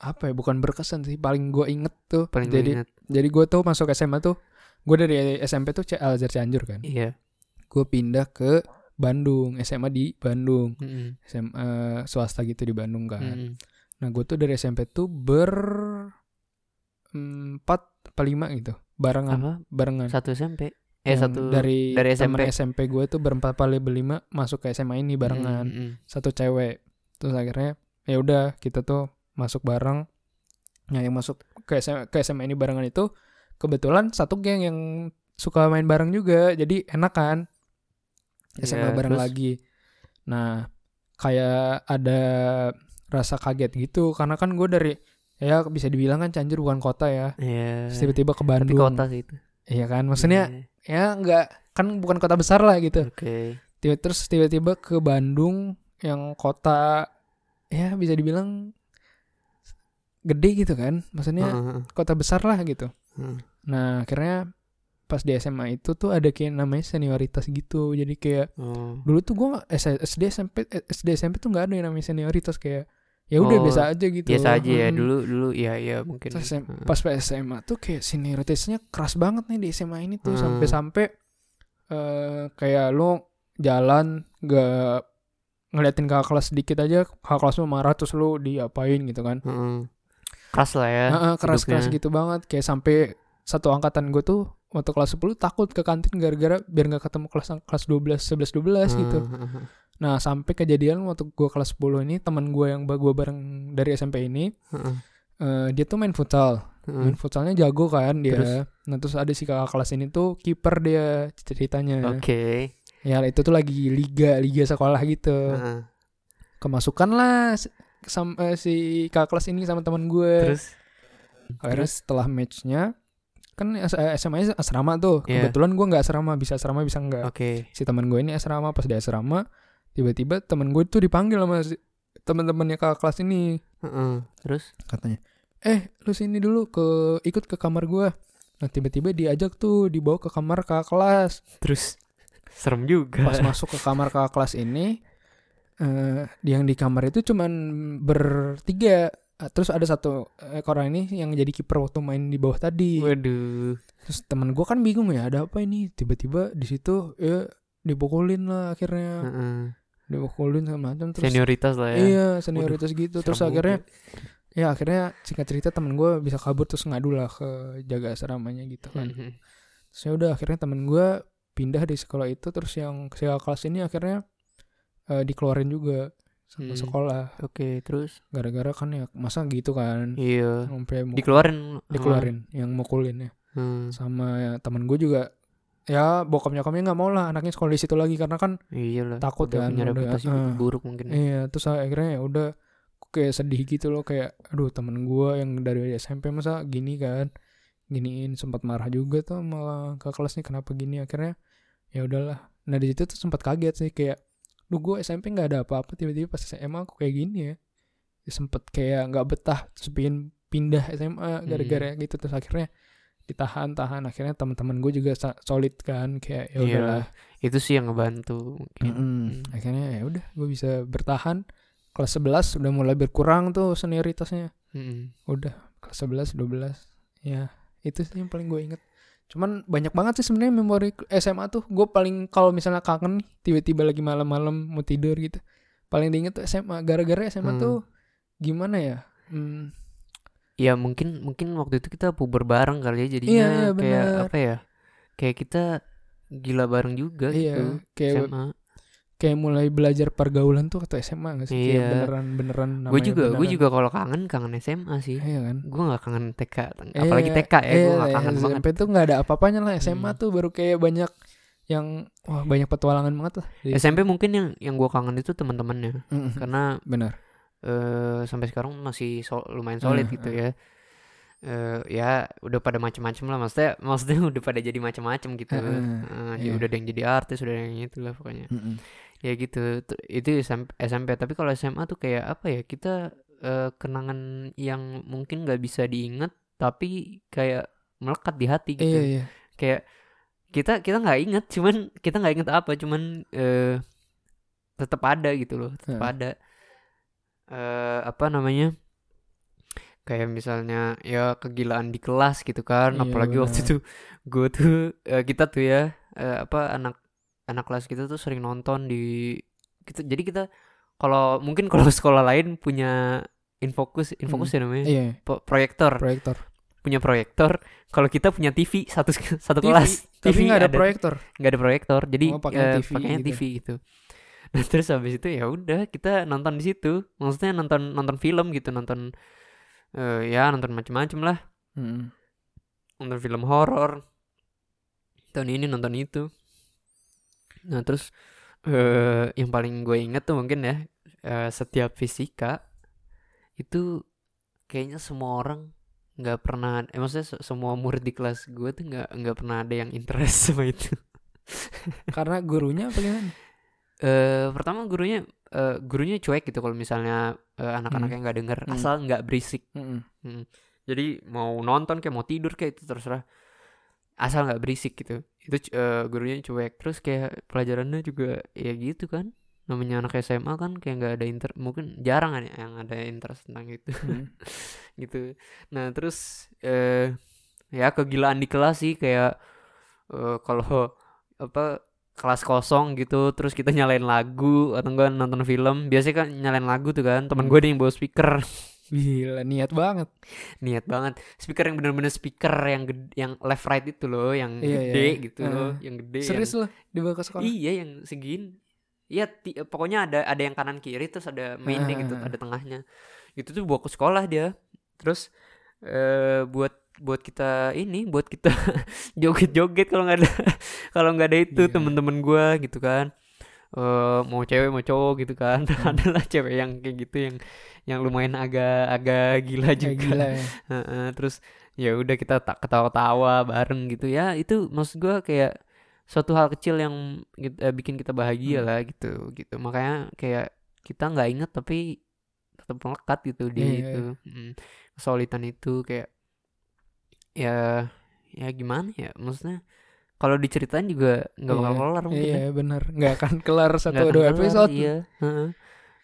B: apa ya bukan berkesan sih paling gue inget tuh
A: paling lu
B: jadi
A: ingat
B: jadi gue tuh masuk SMA tuh gue dari SMP tuh C- Al-Azhar Cianjur kan
A: iya
B: gue pindah ke Bandung SMA di Bandung
A: Mm-mm.
B: SMA swasta gitu di Bandung kan
A: Mm-mm.
B: Nah gue tuh dari SMP tuh ber empat apa lima gitu barengan
A: apa
B: barengan.
A: satu SMP eh
B: Yang
A: satu
B: dari
A: dari
B: temen
A: SMP.
B: SMP gue tuh berempat kali berlima masuk ke SMA ini barengan
A: Mm-mm.
B: satu cewek terus akhirnya ya udah kita tuh masuk bareng. Nah yang masuk ke SMA, ke SMA ini barengan itu kebetulan satu geng yang suka main bareng juga jadi enak kan SMA
A: Iya,
B: bareng
A: terus?
B: lagi. Nah, kayak ada rasa kaget gitu karena kan gue dari ya bisa dibilang kan Cianjur bukan kota ya.
A: Iya.
B: Terus tiba-tiba ke
A: tapi
B: Bandung.
A: kota sih itu
B: Iya kan? Maksudnya
A: Iya.
B: ya nggak kan bukan kota besar lah gitu.
A: oke
B: Tiba terus tiba-tiba ke Bandung yang kota ya bisa dibilang gede gitu kan. Maksudnya
A: Heeh.
B: kota besar lah gitu.
A: Hmm.
B: Nah, akhirnya pas di SMA itu tuh ada kayak namanya senioritas gitu. Jadi kayak
A: Oh.
B: dulu tuh gue SD SMP eh, SD SMP tuh nggak ada yang namanya senioritas kayak ya udah
A: Oh,
B: biasa aja gitu
A: biasa aja ya
B: Hmm.
A: dulu dulu ya ya mungkin
B: Terus SM
A: Heeh.
B: pas pas SMA tuh kayak senioritasnya keras banget nih di SMA ini tuh
A: Hmm.
B: sampai-sampai eh, kayak lo jalan nggak ngeliatin kakak kelas sedikit aja kakak kelas lu marah terus lu diapain gitu kan
A: Heeh. keras lah ya
B: Heeh, keras-keras
A: hidupnya.
B: gitu banget kayak sampai satu angkatan gue tuh waktu kelas 10 takut ke kantin gara-gara biar nggak ketemu kelas kelas 12 11 12
A: Hmm.
B: gitu
A: Heeh.
B: Nah sampai kejadian waktu gue kelas 10 ini teman gue yang gue bareng dari SMP ini
A: Heeh.
B: eh, dia tuh main futsal,
A: Heeh.
B: main futsalnya jago kan dia.
A: Hmm. Terus?
B: Nah terus ada si kakak kelas ini tuh kiper dia ceritanya.
A: oke
B: Ya itu tuh lagi liga liga sekolah gitu.
A: Heeh.
B: Kemasukan lah si- sam- eh, si kakak kelas ini sama teman gue.
A: terus
B: Akhirnya setelah matchnya kan as- eh, SMA-nya asrama tuh.
A: Iya.
B: Kebetulan gue nggak asrama, bisa asrama bisa nggak.
A: oke
B: si teman gue ini asrama pas di asrama tiba-tiba teman gue tuh dipanggil sama si, teman-temannya kakak kelas ini
A: Heeh. terus
B: katanya eh lu sini dulu ke ikut ke kamar gue nah tiba-tiba diajak tuh dibawa ke kamar kakak kelas
A: terus serem juga <laughs>
B: pas masuk ke kamar kakak kelas ini eh yang di kamar itu cuman bertiga Ah, terus ada satu eh, orang ini yang jadi kiper waktu main di bawah tadi
A: waduh
B: terus teman gue kan bingung ya ada apa ini tiba-tiba di situ ya dipukulin lah akhirnya
A: Heeh.
B: dipukulin sama macam terus
A: Hmm. senioritas lah ya
B: iya senioritas gitu terus
A: serem
B: akhirnya ya akhirnya singkat cerita temen gue bisa kabur terus ngadu lah ke jaga asramanya gitu
A: juga.
B: kan
A: Heeh.
B: terus ya udah akhirnya temen gue pindah di sekolah itu terus yang si kakak kelas ini akhirnya eh, dikeluarin juga sama
A: Hmm.
B: sekolah
A: oke terus
B: gara-gara kan ya masa gitu kan
A: iya ah.
B: sampai mu-
A: dikeluarin
B: dikeluarin yang mukulin ya
A: Heeh.
B: sama ya, temen gue juga ya bokap nyokapnya nggak mau lah anaknya sekolah di situ lagi karena kan
A: iya lah
B: Takut
A: udah
B: kan,
A: punya
B: udah,
A: reputasi
B: heeh.
A: buruk mungkin
B: Iya, terus akhirnya ya udah gua kayak sedih gitu loh kayak aduh temen gua yang dari SMP masa gini kan giniin sempat marah juga tuh malah ke kelasnya kenapa gini akhirnya ya udahlah nah di situ tuh sempat kaget sih kayak lu gue SMP nggak ada apa-apa tiba-tiba pas SMA aku kayak gini ya, Ya sempet kayak nggak betah terus pengen pindah SMA gara-gara gitu terus akhirnya ditahan-tahan akhirnya teman-teman gue juga sa- solid kan kayak
A: Iya.
B: ya udahlah
A: itu sih yang ngebantu mungkin
B: Mm-mm.
A: Mm.
B: Akhirnya ya udah gue bisa bertahan. Kelas 11 udah mulai berkurang tuh senioritasnya.
A: Heeh.
B: Udah kelas 11 12. Ya, itu sih yang paling gue inget. Cuman banyak banget sih sebenarnya memori ke- SMA tuh. Gue paling kalau misalnya kangen nih, tiba-tiba lagi malam-malam mau tidur gitu. Paling diinget tuh SMA. Gara-gara SMA
A: Hmm.
B: tuh gimana ya? Hmm,
A: Ya mungkin mungkin waktu itu kita puber bareng kali ya jadinya
B: Iya, iya,
A: kayak
B: benar.
A: apa ya? Kayak kita gila bareng juga gitu.
B: iya, kayak
A: SMA.
B: kayak mulai belajar pergaulan tuh waktu SMA gak sih? Kayak
A: Iya.
B: beneran-beneran
A: Gue
B: namanya
A: juga gue
B: beneran.
A: juga kalau kangen kangen SMA sih.
B: Iya kan?
A: Gue nggak kangen TK, apalagi
B: Iya,
A: TK ya. gue
B: iya,
A: nggak kangen
B: SMP
A: banget.
B: tuh nggak ada apa-apanya lah. SMA
A: Hmm.
B: tuh baru kayak banyak yang wah banyak petualangan banget lah. Jadi-
A: SMP mungkin yang yang gue kangen itu teman-temannya
B: Mm-mm.
A: karena
B: benar.
A: eh, sampai sekarang masih sol- lumayan solid
B: Eh,
A: gitu ya. Eh, ya udah pada macem-macem lah maksudnya <laughs> maksudnya udah pada jadi macem-macem gitu.
B: Eh, eh,
A: Eh,
B: iya.
A: Udah ada yang jadi artis, udah ada yang itu lah pokoknya.
B: Mm-mm.
A: ya gitu Tu- itu SM SMP tapi kalau SMA tuh kayak apa ya kita eh, kenangan yang mungkin nggak bisa diingat tapi kayak melekat di hati gitu
B: Iya iya.
A: kayak kita kita nggak inget cuman kita nggak inget apa cuman eh tetap ada gitu loh tetap
B: Heeh.
A: ada eh apa namanya kayak misalnya ya kegilaan di kelas gitu kan
B: Iya,
A: apalagi waktu
B: benar.
A: itu gue tuh eh, kita tuh ya eh, apa anak anak kelas kita tuh sering nonton di kita jadi kita kalau mungkin kalau <laughs> sekolah lain punya infokus infokus ya namanya
B: Iya.
A: po- proyektor
B: Proyektor.
A: punya proyektor kalau kita punya TV satu <laughs> satu
B: TV,
A: kelas <laughs>
B: Tapi nggak ada, proyektor.
A: nggak ada proyektor jadi
B: Oh,
A: eh,
B: pakainya TV
A: pakainya
B: gitu.
A: TV gitu <laughs> nah terus habis itu ya udah kita nonton di situ maksudnya nonton nonton film gitu nonton eh, ya nonton macem-macem lah
B: Mm.
A: nonton film horor tahun ini nonton itu nah terus eh yang paling gue inget tuh mungkin ya eh, setiap fisika itu kayaknya semua orang nggak pernah eh, maksudnya se- semua murid di kelas gue tuh nggak nggak pernah ada yang interest <laughs> sama itu
B: Karena gurunya apa gimana?
A: eh pertama gurunya eh, gurunya cuek gitu kalau misalnya eh, anak-anaknya nggak denger
B: Hmm.
A: asal nggak berisik
B: Mm-mm.
A: jadi mau nonton kayak mau tidur kayak itu terserah asal nggak berisik gitu itu eh, gurunya cuek terus kayak pelajarannya juga ya gitu kan namanya anak SMA kan kayak nggak ada inter mungkin jarang kan ya yang ada interest tentang itu <laughs>
B: Mm.
A: gitu nah terus eh ya kegilaan di kelas sih kayak eh, kalau apa kelas kosong gitu terus kita nyalain lagu atau enggak nonton film biasanya kan nyalain lagu tuh kan teman gue ada yang bawa speaker
B: Gila niat banget.
A: niat banget speaker yang bener-bener speaker yang ged- yang left right itu loh yang
B: Iya,
A: gede
B: iya.
A: gitu loh
B: Heeh.
A: yang gede
B: Serius
A: yang-
B: loh dibawa ke sekolah.
A: iya yang segini Iya, ti- pokoknya ada ada yang kanan kiri terus ada mainnya gitu,
B: Heeh.
A: ada tengahnya. Itu tuh bawa ke sekolah dia. Terus eh buat buat kita ini, buat kita <laughs> joget-joget kalau nggak ada <laughs> kalau nggak ada itu
B: Iya.
A: temen-temen gua gitu kan. Eh mau cewek mau cowok gitu kan. <laughs>
B: Hmm.
A: Adalah cewek yang kayak gitu yang yang lumayan agak-agak gila juga.
B: Kayak gila
A: <laughs>
B: ya.
A: Heeh, terus ya udah kita tak ketawa-tawa bareng gitu ya itu maksud gua kayak suatu hal kecil yang git- eh, bikin kita bahagia
B: Hmm.
A: lah gitu gitu makanya kayak kita nggak inget tapi tetap melekat gitu di
B: Iya, iya,
A: itu Mm, kesulitan itu kayak ya ya gimana ya maksudnya kalau diceritain juga nggak bakal
B: Iya,
A: kelar mungkin ya.
B: Iya benar. Nggak akan kelar satu
A: Nggak akan
B: dua
A: kelar,
B: episode.
A: iya Heeh.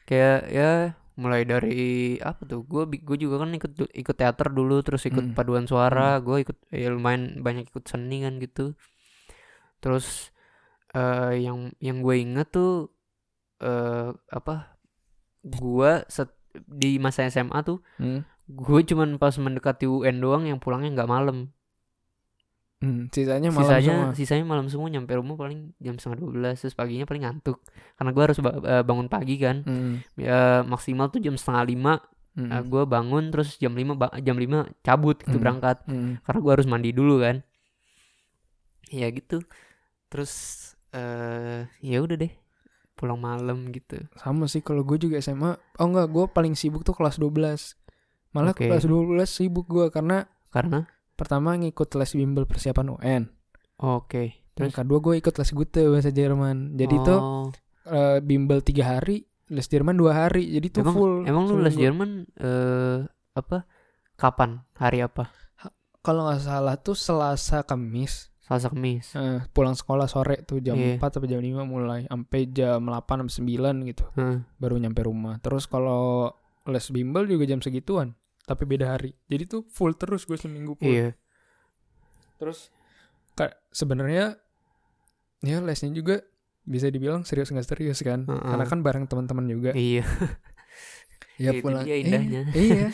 A: kayak ya mulai dari apa tuh gue gue juga kan ikut ikut teater dulu terus ikut
B: Hmm.
A: paduan suara gue ikut ya lumayan banyak ikut seni kan gitu terus eh yang yang gue inget tuh eh apa gue set di masa SMA tuh
B: Hmm.
A: gue cuman pas mendekati UN doang yang pulangnya nggak malam
B: Hmm, Sisanya malam
A: sisanya
B: semua.
A: sisanya malam semua nyampe rumah paling jam setengah dua belas terus paginya paling ngantuk karena gue harus ba- eh, bangun pagi kan
B: Hmm.
A: ya maksimal tuh jam setengah lima
B: Hmm.
A: gue bangun terus jam lima ba- jam lima cabut gitu
B: Hmm.
A: berangkat
B: Hmm.
A: karena gue harus mandi dulu kan ya gitu terus eh ya udah deh pulang malam gitu
B: Sama sih kalau gue juga SMA. Oh enggak, gue paling sibuk tuh kelas 12. Malah
A: Oke.
B: kelas 12 sibuk gue karena
A: karena
B: pertama ngikut les bimbel persiapan UN.
A: oke
B: Terus
A: terus
B: kedua gue ikut les Gute bahasa Jerman. Jadi tuh
A: Oh,
B: eh, bimbel tiga hari, les Jerman dua hari. Jadi tuh
A: emang
B: full.
A: emang lu les
B: seminggu.
A: Jerman eh apa kapan hari apa
B: Kalau nggak salah tuh Selasa Kamis.
A: Selasa Kamis
B: Eh, pulang sekolah sore tuh jam
A: Iya.
B: 4 sampai jam 5 mulai sampai jam 8 sampai 9 gitu
A: Heeh.
B: baru nyampe rumah. Terus kalau les bimbel juga jam segituan tapi beda hari. Jadi tuh full terus gue seminggu full.
A: iya
B: Terus ka- sebenarnya ya lesnya juga bisa dibilang serius nggak serius kan?
A: Heeh.
B: Karena kan bareng teman-teman juga.
A: iya
B: Ya
A: Itu
B: pulang
A: dia
B: iya,
A: indahnya. <laughs>
B: Iya.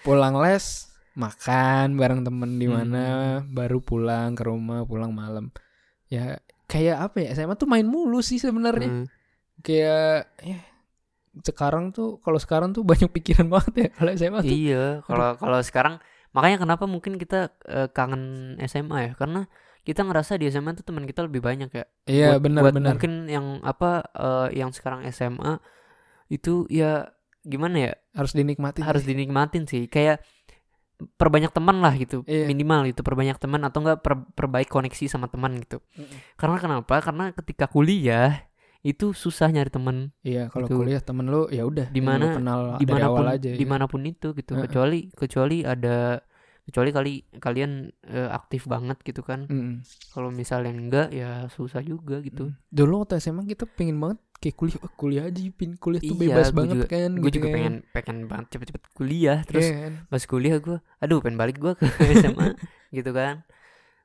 B: pulang les makan bareng temen di mana,
A: Hmm.
B: baru pulang ke rumah, pulang malam. Ya kayak apa ya? SMA tuh main mulu sih sebenarnya.
A: Heeh.
B: Kayak ya, sekarang tuh kalau sekarang tuh <laughs> banyak pikiran banget ya kalau SMA tuh.
A: Iya, kalau kalau sekarang makanya kenapa mungkin kita eh, kangen SMA ya? Karena kita ngerasa di SMA tuh teman kita lebih banyak ya.
B: Iya,
A: Buat- buat
B: benar-benar.
A: Mungkin yang apa eh, yang sekarang SMA itu ya gimana ya?
B: Harus dinikmati.
A: Harus dinikmatin sih. Kayak perbanyak teman lah gitu.
B: Iya.
A: Minimal itu perbanyak teman atau enggak per- perbaik koneksi sama teman gitu.
B: Mm-mm.
A: Karena kenapa? Karena ketika kuliah itu susah nyari teman
B: Iya, kalau
A: Gitu.
B: kuliah temen lu ya udah
A: Di
B: yang lu
A: mana-
B: kenal dari
A: dimanapun
B: awal aja. ya.
A: dimanapun itu gitu
B: Heeh.
A: kecuali kecuali ada kecuali kali kalian eh, aktif banget gitu kan
B: Mm-mm.
A: kalau misalnya enggak ya susah juga gitu
B: Mm. Dulu waktu SMA kita pengen banget kayak kuliah "Wah, kuliah aja pin kuliah tuh
A: Iya,
B: bebas
A: gua
B: banget
A: juga-
B: kan.
A: gue
B: gitu Iya.
A: juga
B: kan.
A: pengen pengen banget cepet-cepet kuliah
B: Terus
A: terus pas kuliah gue aduh pengen balik
B: <laughs>
A: gue ke SMA gitu kan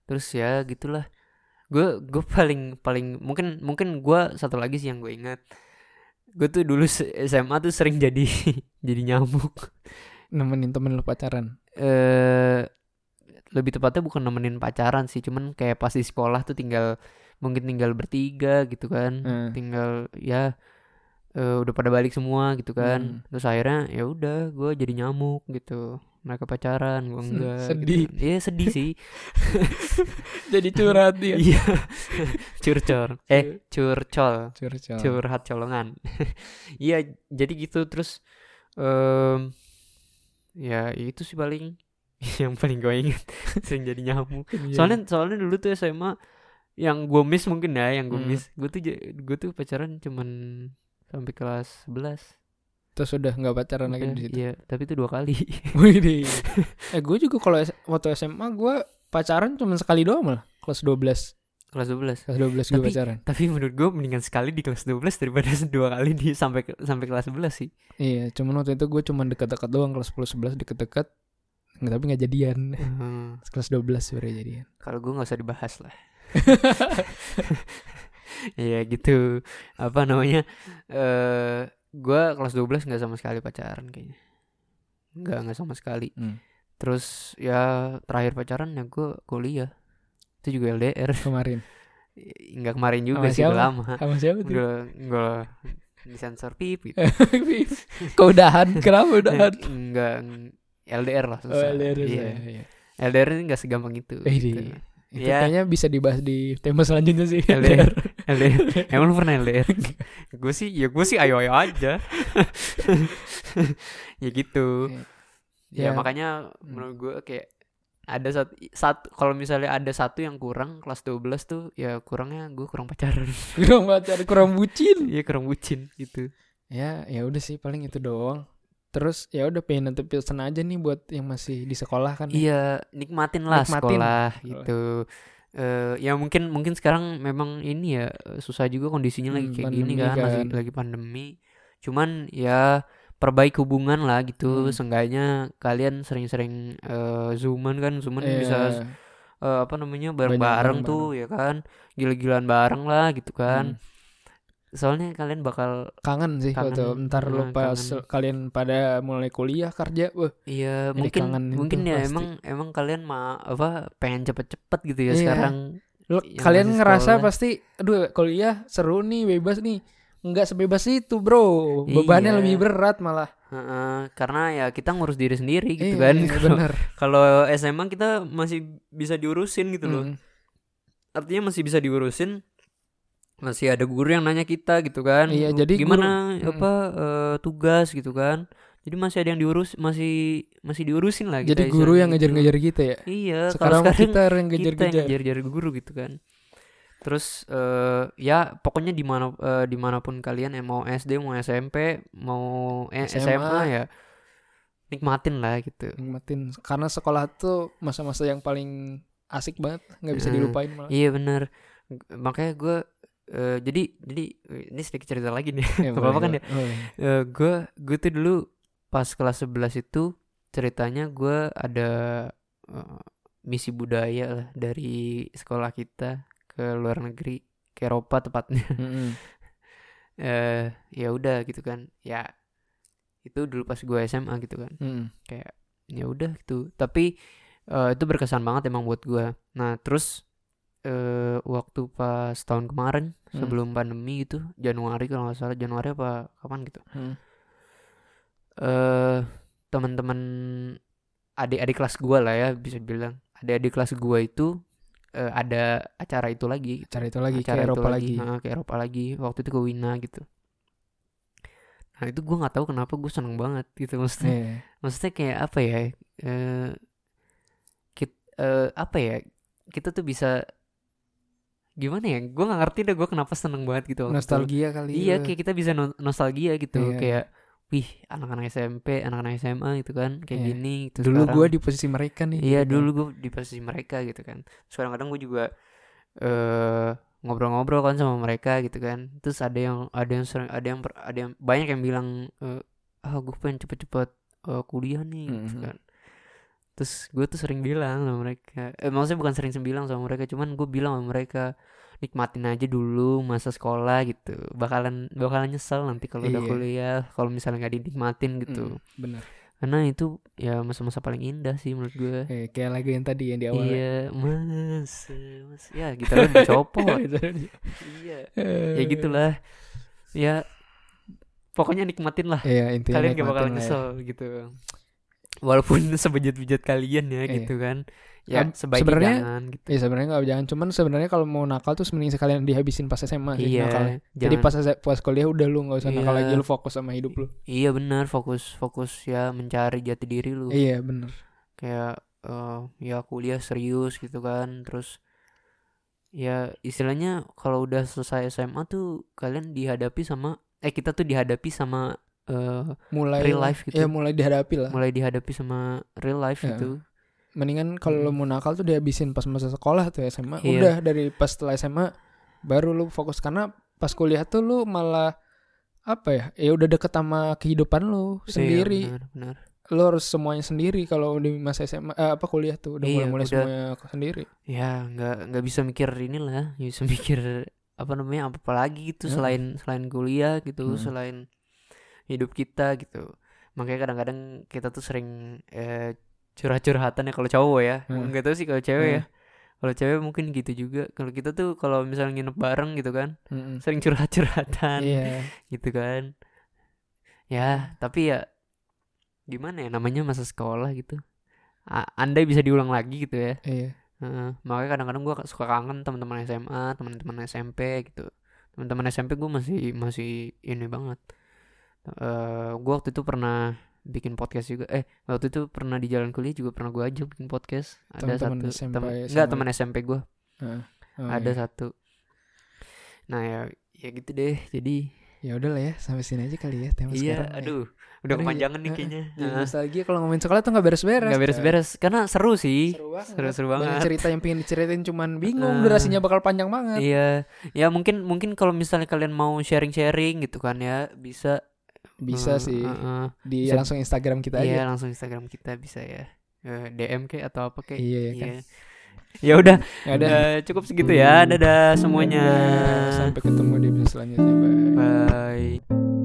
A: terus ya gitulah gue gue paling paling mungkin mungkin gue satu lagi sih yang gue ingat gue tuh dulu se- SMA tuh sering jadi <laughs> jadi nyamuk
B: nemenin temen lu pacaran.
A: eh lebih tepatnya bukan nemenin pacaran sih cuman kayak pas di sekolah tuh tinggal mungkin tinggal bertiga gitu kan
B: Eh.
A: tinggal ya eh, udah pada balik semua gitu
B: Hmm.
A: kan terus akhirnya ya udah gue jadi nyamuk gitu mereka pacaran gue enggak gitu
B: sedih.
A: kan. iya sedih
B: <laughs>
A: sih
B: Jadi curhat dia.
A: iya <laughs> curcol
B: Iya.
A: eh curcol
B: Curhat.
A: curhat colongan <laughs> iya jadi gitu terus em, ya itu sih paling <laughs> yang paling gue inget sering jadi nyamuk
B: Iya.
A: soalnya soalnya dulu tuh SMA yang gue miss mungkin ya yang gue
B: Hmm.
A: miss gue tuh gue tuh pacaran cuman sampai kelas 11
B: terus udah nggak pacaran lagi
A: Udah,
B: di situ.
A: iya tapi itu dua kali <laughs>
B: Widih. eh gue juga kalau S- waktu SMA gue pacaran cuma sekali doang malah kelas 12
A: kelas 12
B: kelas 12 gue
A: Tapi-
B: pacaran
A: tapi menurut gue mendingan sekali di kelas 12 daripada <laughs> dua kali di sampai ke- sampai kelas 11 sih
B: iya cuman waktu itu gue cuma deket-deket doang kelas 10 11 deket-deket nggak tapi nggak jadian
A: Hmm,
B: kelas 12 sebenernya jadian
A: kalau gue nggak usah dibahas lah <laughs> Iya gitu apa namanya eh gua kelas 12 nggak sama sekali pacaran kayaknya nggak nggak sama sekali
B: Hmm.
A: terus ya terakhir pacaran ya gue kuliah itu juga LDR <laughs>
B: kemarin
A: nggak kemarin juga
B: Sama
A: sih udah
B: siapa?
A: lama
B: sama siapa tuh
A: udah nggak disensor pip gitu
B: <laughs>
A: Eh,
B: keudahan kenapa <laughs> udahan
A: nggak LDR lah
B: oh,
A: susah
B: LDR
A: Iya.
B: saya, iya.
A: LDR ini nggak segampang itu
B: Eh, di-
A: gitu.
B: itu
A: Iya.
B: kayaknya bisa dibahas di tema selanjutnya sih
A: LDR. LDR Emang lu pernah LDR? gue sih, ya gue sih ayo-ayo aja Ya gitu Ya,
B: Ya.
A: makanya menurut gue kayak ada satu, satu kalau misalnya ada satu yang kurang kelas 12 tuh ya kurangnya gue kurang pacaran <laughs>
B: kurang pacar kurang bucin
A: Iya kurang bucin gitu
B: <laughs> ya ya udah sih paling itu doang terus ya udah pengen nanti pesan aja nih buat yang masih di sekolah kan ya.
A: Iya nikmatin lah
B: Nikmatin.
A: sekolah gitu Eh, ya mungkin mungkin sekarang memang ini ya eh, susah juga kondisinya lagi
B: Hmm,
A: kayak
B: pandemi
A: gini kan, Lagi,
B: kan.
A: lagi pandemi cuman ya perbaik hubungan lah gitu
B: Hmm.
A: seenggaknya kalian sering-sering eh, zooman kan zooman
B: Iya.
A: bisa eh, apa namanya bareng-bareng
B: bareng-bareng.
A: tuh ya kan gila-gilaan bareng lah gitu
B: Hmm.
A: kan soalnya kalian bakal
B: kangen sih
A: Kangen,
B: waktu ntar lu
A: ah,
B: pas
A: kangen.
B: kalian pada mulai kuliah kerja wah
A: Iya
B: Jadi
A: mungkin
B: kangenin
A: mungkin
B: tuh
A: ya
B: pasti.
A: emang emang kalian ma apa pengen cepet-cepet gitu ya
B: Iya.
A: sekarang
B: lu,
A: Yang
B: kalian
A: masih
B: ngerasa
A: sekolah.
B: pasti aduh kuliah seru nih bebas nih nggak sebebas itu bro
A: Iya.
B: bebannya lebih berat malah
A: Heeh, karena ya kita ngurus diri sendiri gitu
B: Iya,
A: kan
B: iya,
A: Kalau-
B: bener
A: kalau SMA kita masih bisa diurusin gitu loh
B: Mm.
A: artinya masih bisa diurusin masih ada guru yang nanya kita gitu kan
B: Iya,
A: Lu
B: jadi
A: gimana
B: guru-
A: apa eh, tugas gitu kan jadi masih ada yang diurus masih masih diurusin lah
B: jadi
A: kita
B: guru
A: istilahnya
B: yang
A: gitu.
B: ngejar-ngejar kita ya
A: iya kalau
B: sekarang, kita yang
A: kita yang
B: ngejar-ngejar
A: ngejar-ngejar guru gitu kan terus eh, ya pokoknya di mana eh, dimanapun kalian eh, mau SD mau SMP mau eh,
B: SMA.
A: SMA. ya nikmatin lah gitu
B: nikmatin karena sekolah tuh masa-masa yang paling asik banget nggak bisa
A: Hmm.
B: dilupain malah <laughs>
A: iya bener G- makanya gue eh, jadi jadi eh, ini sedikit cerita lagi nih <laughs>
B: Eh,
A: Gak apa-apa kan
B: boleh, boleh.
A: gue gue tuh dulu pas kelas 11 itu ceritanya gue ada eh, misi budaya lah dari sekolah kita ke luar negeri ke Eropa tepatnya
B: Mm-mm.
A: eh ya udah gitu kan ya itu dulu pas gue SMA gitu kan
B: Mm-mm.
A: ya udah gitu tapi eh, itu berkesan banget emang buat gue nah terus eh waktu pas tahun kemarin
B: Hmm.
A: sebelum pandemi itu Januari kalau nggak salah Januari apa kapan gitu
B: Mm.
A: eh teman-teman adik-adik kelas gue lah ya bisa bilang adik-adik kelas gue itu eh, ada acara itu lagi
B: Acara itu lagi
A: acara
B: ke
A: itu
B: Eropa lagi.
A: Nah, ke Eropa lagi waktu itu ke Wina gitu nah itu gue nggak tahu kenapa gue seneng banget gitu maksudnya
B: Eh,
A: maksudnya kayak apa ya eh kit- eh, apa ya kita tuh bisa gimana ya gue nggak ngerti deh gue kenapa seneng banget gitu waktu itu.
B: nostalgia kali.
A: iya
B: ya.
A: kayak kita bisa no- nostalgia gitu
B: Iya.
A: kayak wih anak-anak SMP anak-anak SMA gitu kan kayak
B: Iya.
A: gini gitu
B: dulu
A: sekarang.
B: gue di posisi mereka nih
A: Iya
B: gitu.
A: dulu gue di posisi mereka gitu kan. Terus kadang-kadang gue juga eh ngobrol-ngobrol kan sama mereka gitu kan. Terus ada yang ada yang sering ada yang per- ada yang banyak yang bilang eh, ah gue pengen cepet-cepet eh, kuliah nih gitu
B: Mhm.
A: kan. Terus gue tuh sering bilang sama mereka. Eh maksudnya bukan sering bilang sama mereka, cuman gue bilang sama mereka nikmatin aja dulu masa sekolah gitu. Bakalan bakalan nyesel nanti kalau udah
B: Iya.
A: kuliah, kalau misalnya nggak dinikmatin
B: Mm,
A: gitu.
B: bener
A: Karena itu ya masa-masa paling indah sih menurut gue.
B: Eh, kayak lagu yang tadi yang di awal ya.
A: Iya, mas, mas. Ya, gitar lu
B: <laughs>
A: dicopot. iya. Ya gitulah. Ya pokoknya nikmatin lah.
B: Iya, intinya
A: kalian gak bakal
B: nikmatin lah ya.
A: nyesel gitu. Walaupun <laughs> sebejat-bejat kalian ya
B: Iya.
A: gitu kan. Ya
B: Am,
A: sebaiknya
B: sebenarnya-
A: jangan gitu.
B: Iya sebenarnya nggak jangan cuman sebenarnya kalau mau nakal tuh mending sekalian dihabisin pas SMA sih
A: Iya,
B: nakalnya. Jadi
A: jangan.
B: pas pas kuliah udah lu nggak usah nakal
A: Iya.
B: lagi lu fokus sama hidup lu.
A: Iya benar, fokus fokus ya mencari jati diri lu.
B: Iya bener.
A: Kayak eh, ya kuliah serius gitu kan. Terus ya istilahnya kalau udah selesai SMA tuh kalian dihadapi sama eh kita tuh dihadapi sama eh
B: Mulai
A: Real life gitu.
B: Iya mulai dihadapi lah.
A: mulai dihadapi sama real life
B: Ya.
A: gitu.
B: Mendingan kalau lu mau nakal tuh dihabisin pas masa sekolah tuh SMA.
A: Hmm. Iya.
B: Udah dari pas setelah SMA baru lu fokus karena pas kuliah tuh lu malah apa ya? Ya udah deket sama kehidupan lu
A: Iya,
B: sendiri.
A: benar, benar.
B: lu harus semuanya sendiri kalau di masa SMA eh, apa kuliah tuh udah
A: Iya,
B: mulai-mulai
A: udah.
B: semuanya sendiri.
A: Ya nggak nggak bisa mikir inilah, nggak bisa <laughs> mikir apa namanya apa, apa lagi gitu
B: Ya.
A: selain selain kuliah gitu,
B: Hmm.
A: selain hidup kita gitu. Makanya kadang-kadang kita tuh sering eh, curhat-curhatan ya kalau cowok ya.
B: Hmm.
A: Nggak tahu sih kalau cewek
B: Hmm.
A: ya. Kalau cewek mungkin gitu juga. Kalau kita tuh kalau misalnya nginep bareng gitu kan,
B: Mm-mm.
A: sering curhat-curhatan.
B: Hmm. Iya.
A: gitu kan ya tapi ya gimana ya namanya masa sekolah gitu A- andai bisa diulang lagi gitu ya
B: Iya.
A: Heeh. makanya kadang-kadang gue suka kangen teman-teman SMA teman-teman SMP gitu teman-teman SMP gue masih masih ini banget eh gue waktu itu pernah bikin podcast juga eh waktu itu pernah di jalan kuliah juga pernah gue ajak bikin podcast ada satu
B: Teman-teman SMP
A: teman
B: sama-
A: enggak teman SMP gue
B: Oh,
A: <laughs> ada
B: iya.
A: satu nah ya ya gitu deh jadi
B: Ya udah lah ya sampai sini aja kali ya tema
A: Iya,
B: sekarang. ya.
A: aduh, udah
B: Aduh,
A: kepanjangan nih
B: iya,
A: kayaknya.
B: Jadi
A: Heeh.
B: nostalgia kalau ngomongin sekolah tuh nggak beres-beres.
A: Nggak
B: kan?
A: beres-beres, karena seru sih,
B: Seru banget.
A: seru-seru
B: Banyak
A: banget.
B: cerita yang pengen diceritain cuman bingung
A: Heeh.
B: durasinya bakal panjang banget.
A: Iya, ya mungkin mungkin kalau misalnya kalian mau sharing-sharing gitu kan ya bisa.
B: Bisa
A: eh,
B: sih
A: eh, eh.
B: di
A: Bisa-
B: langsung Instagram kita
A: Iya,
B: aja.
A: langsung Instagram kita bisa ya. Eh, DM ke atau apa ke?
B: Iya, kan.
A: Ya udah,
B: Ya udah.
A: eh, cukup segitu
B: Iya.
A: ya. Dadah semuanya.
B: Sampai ketemu di episode selanjutnya. Bye.
A: Bye.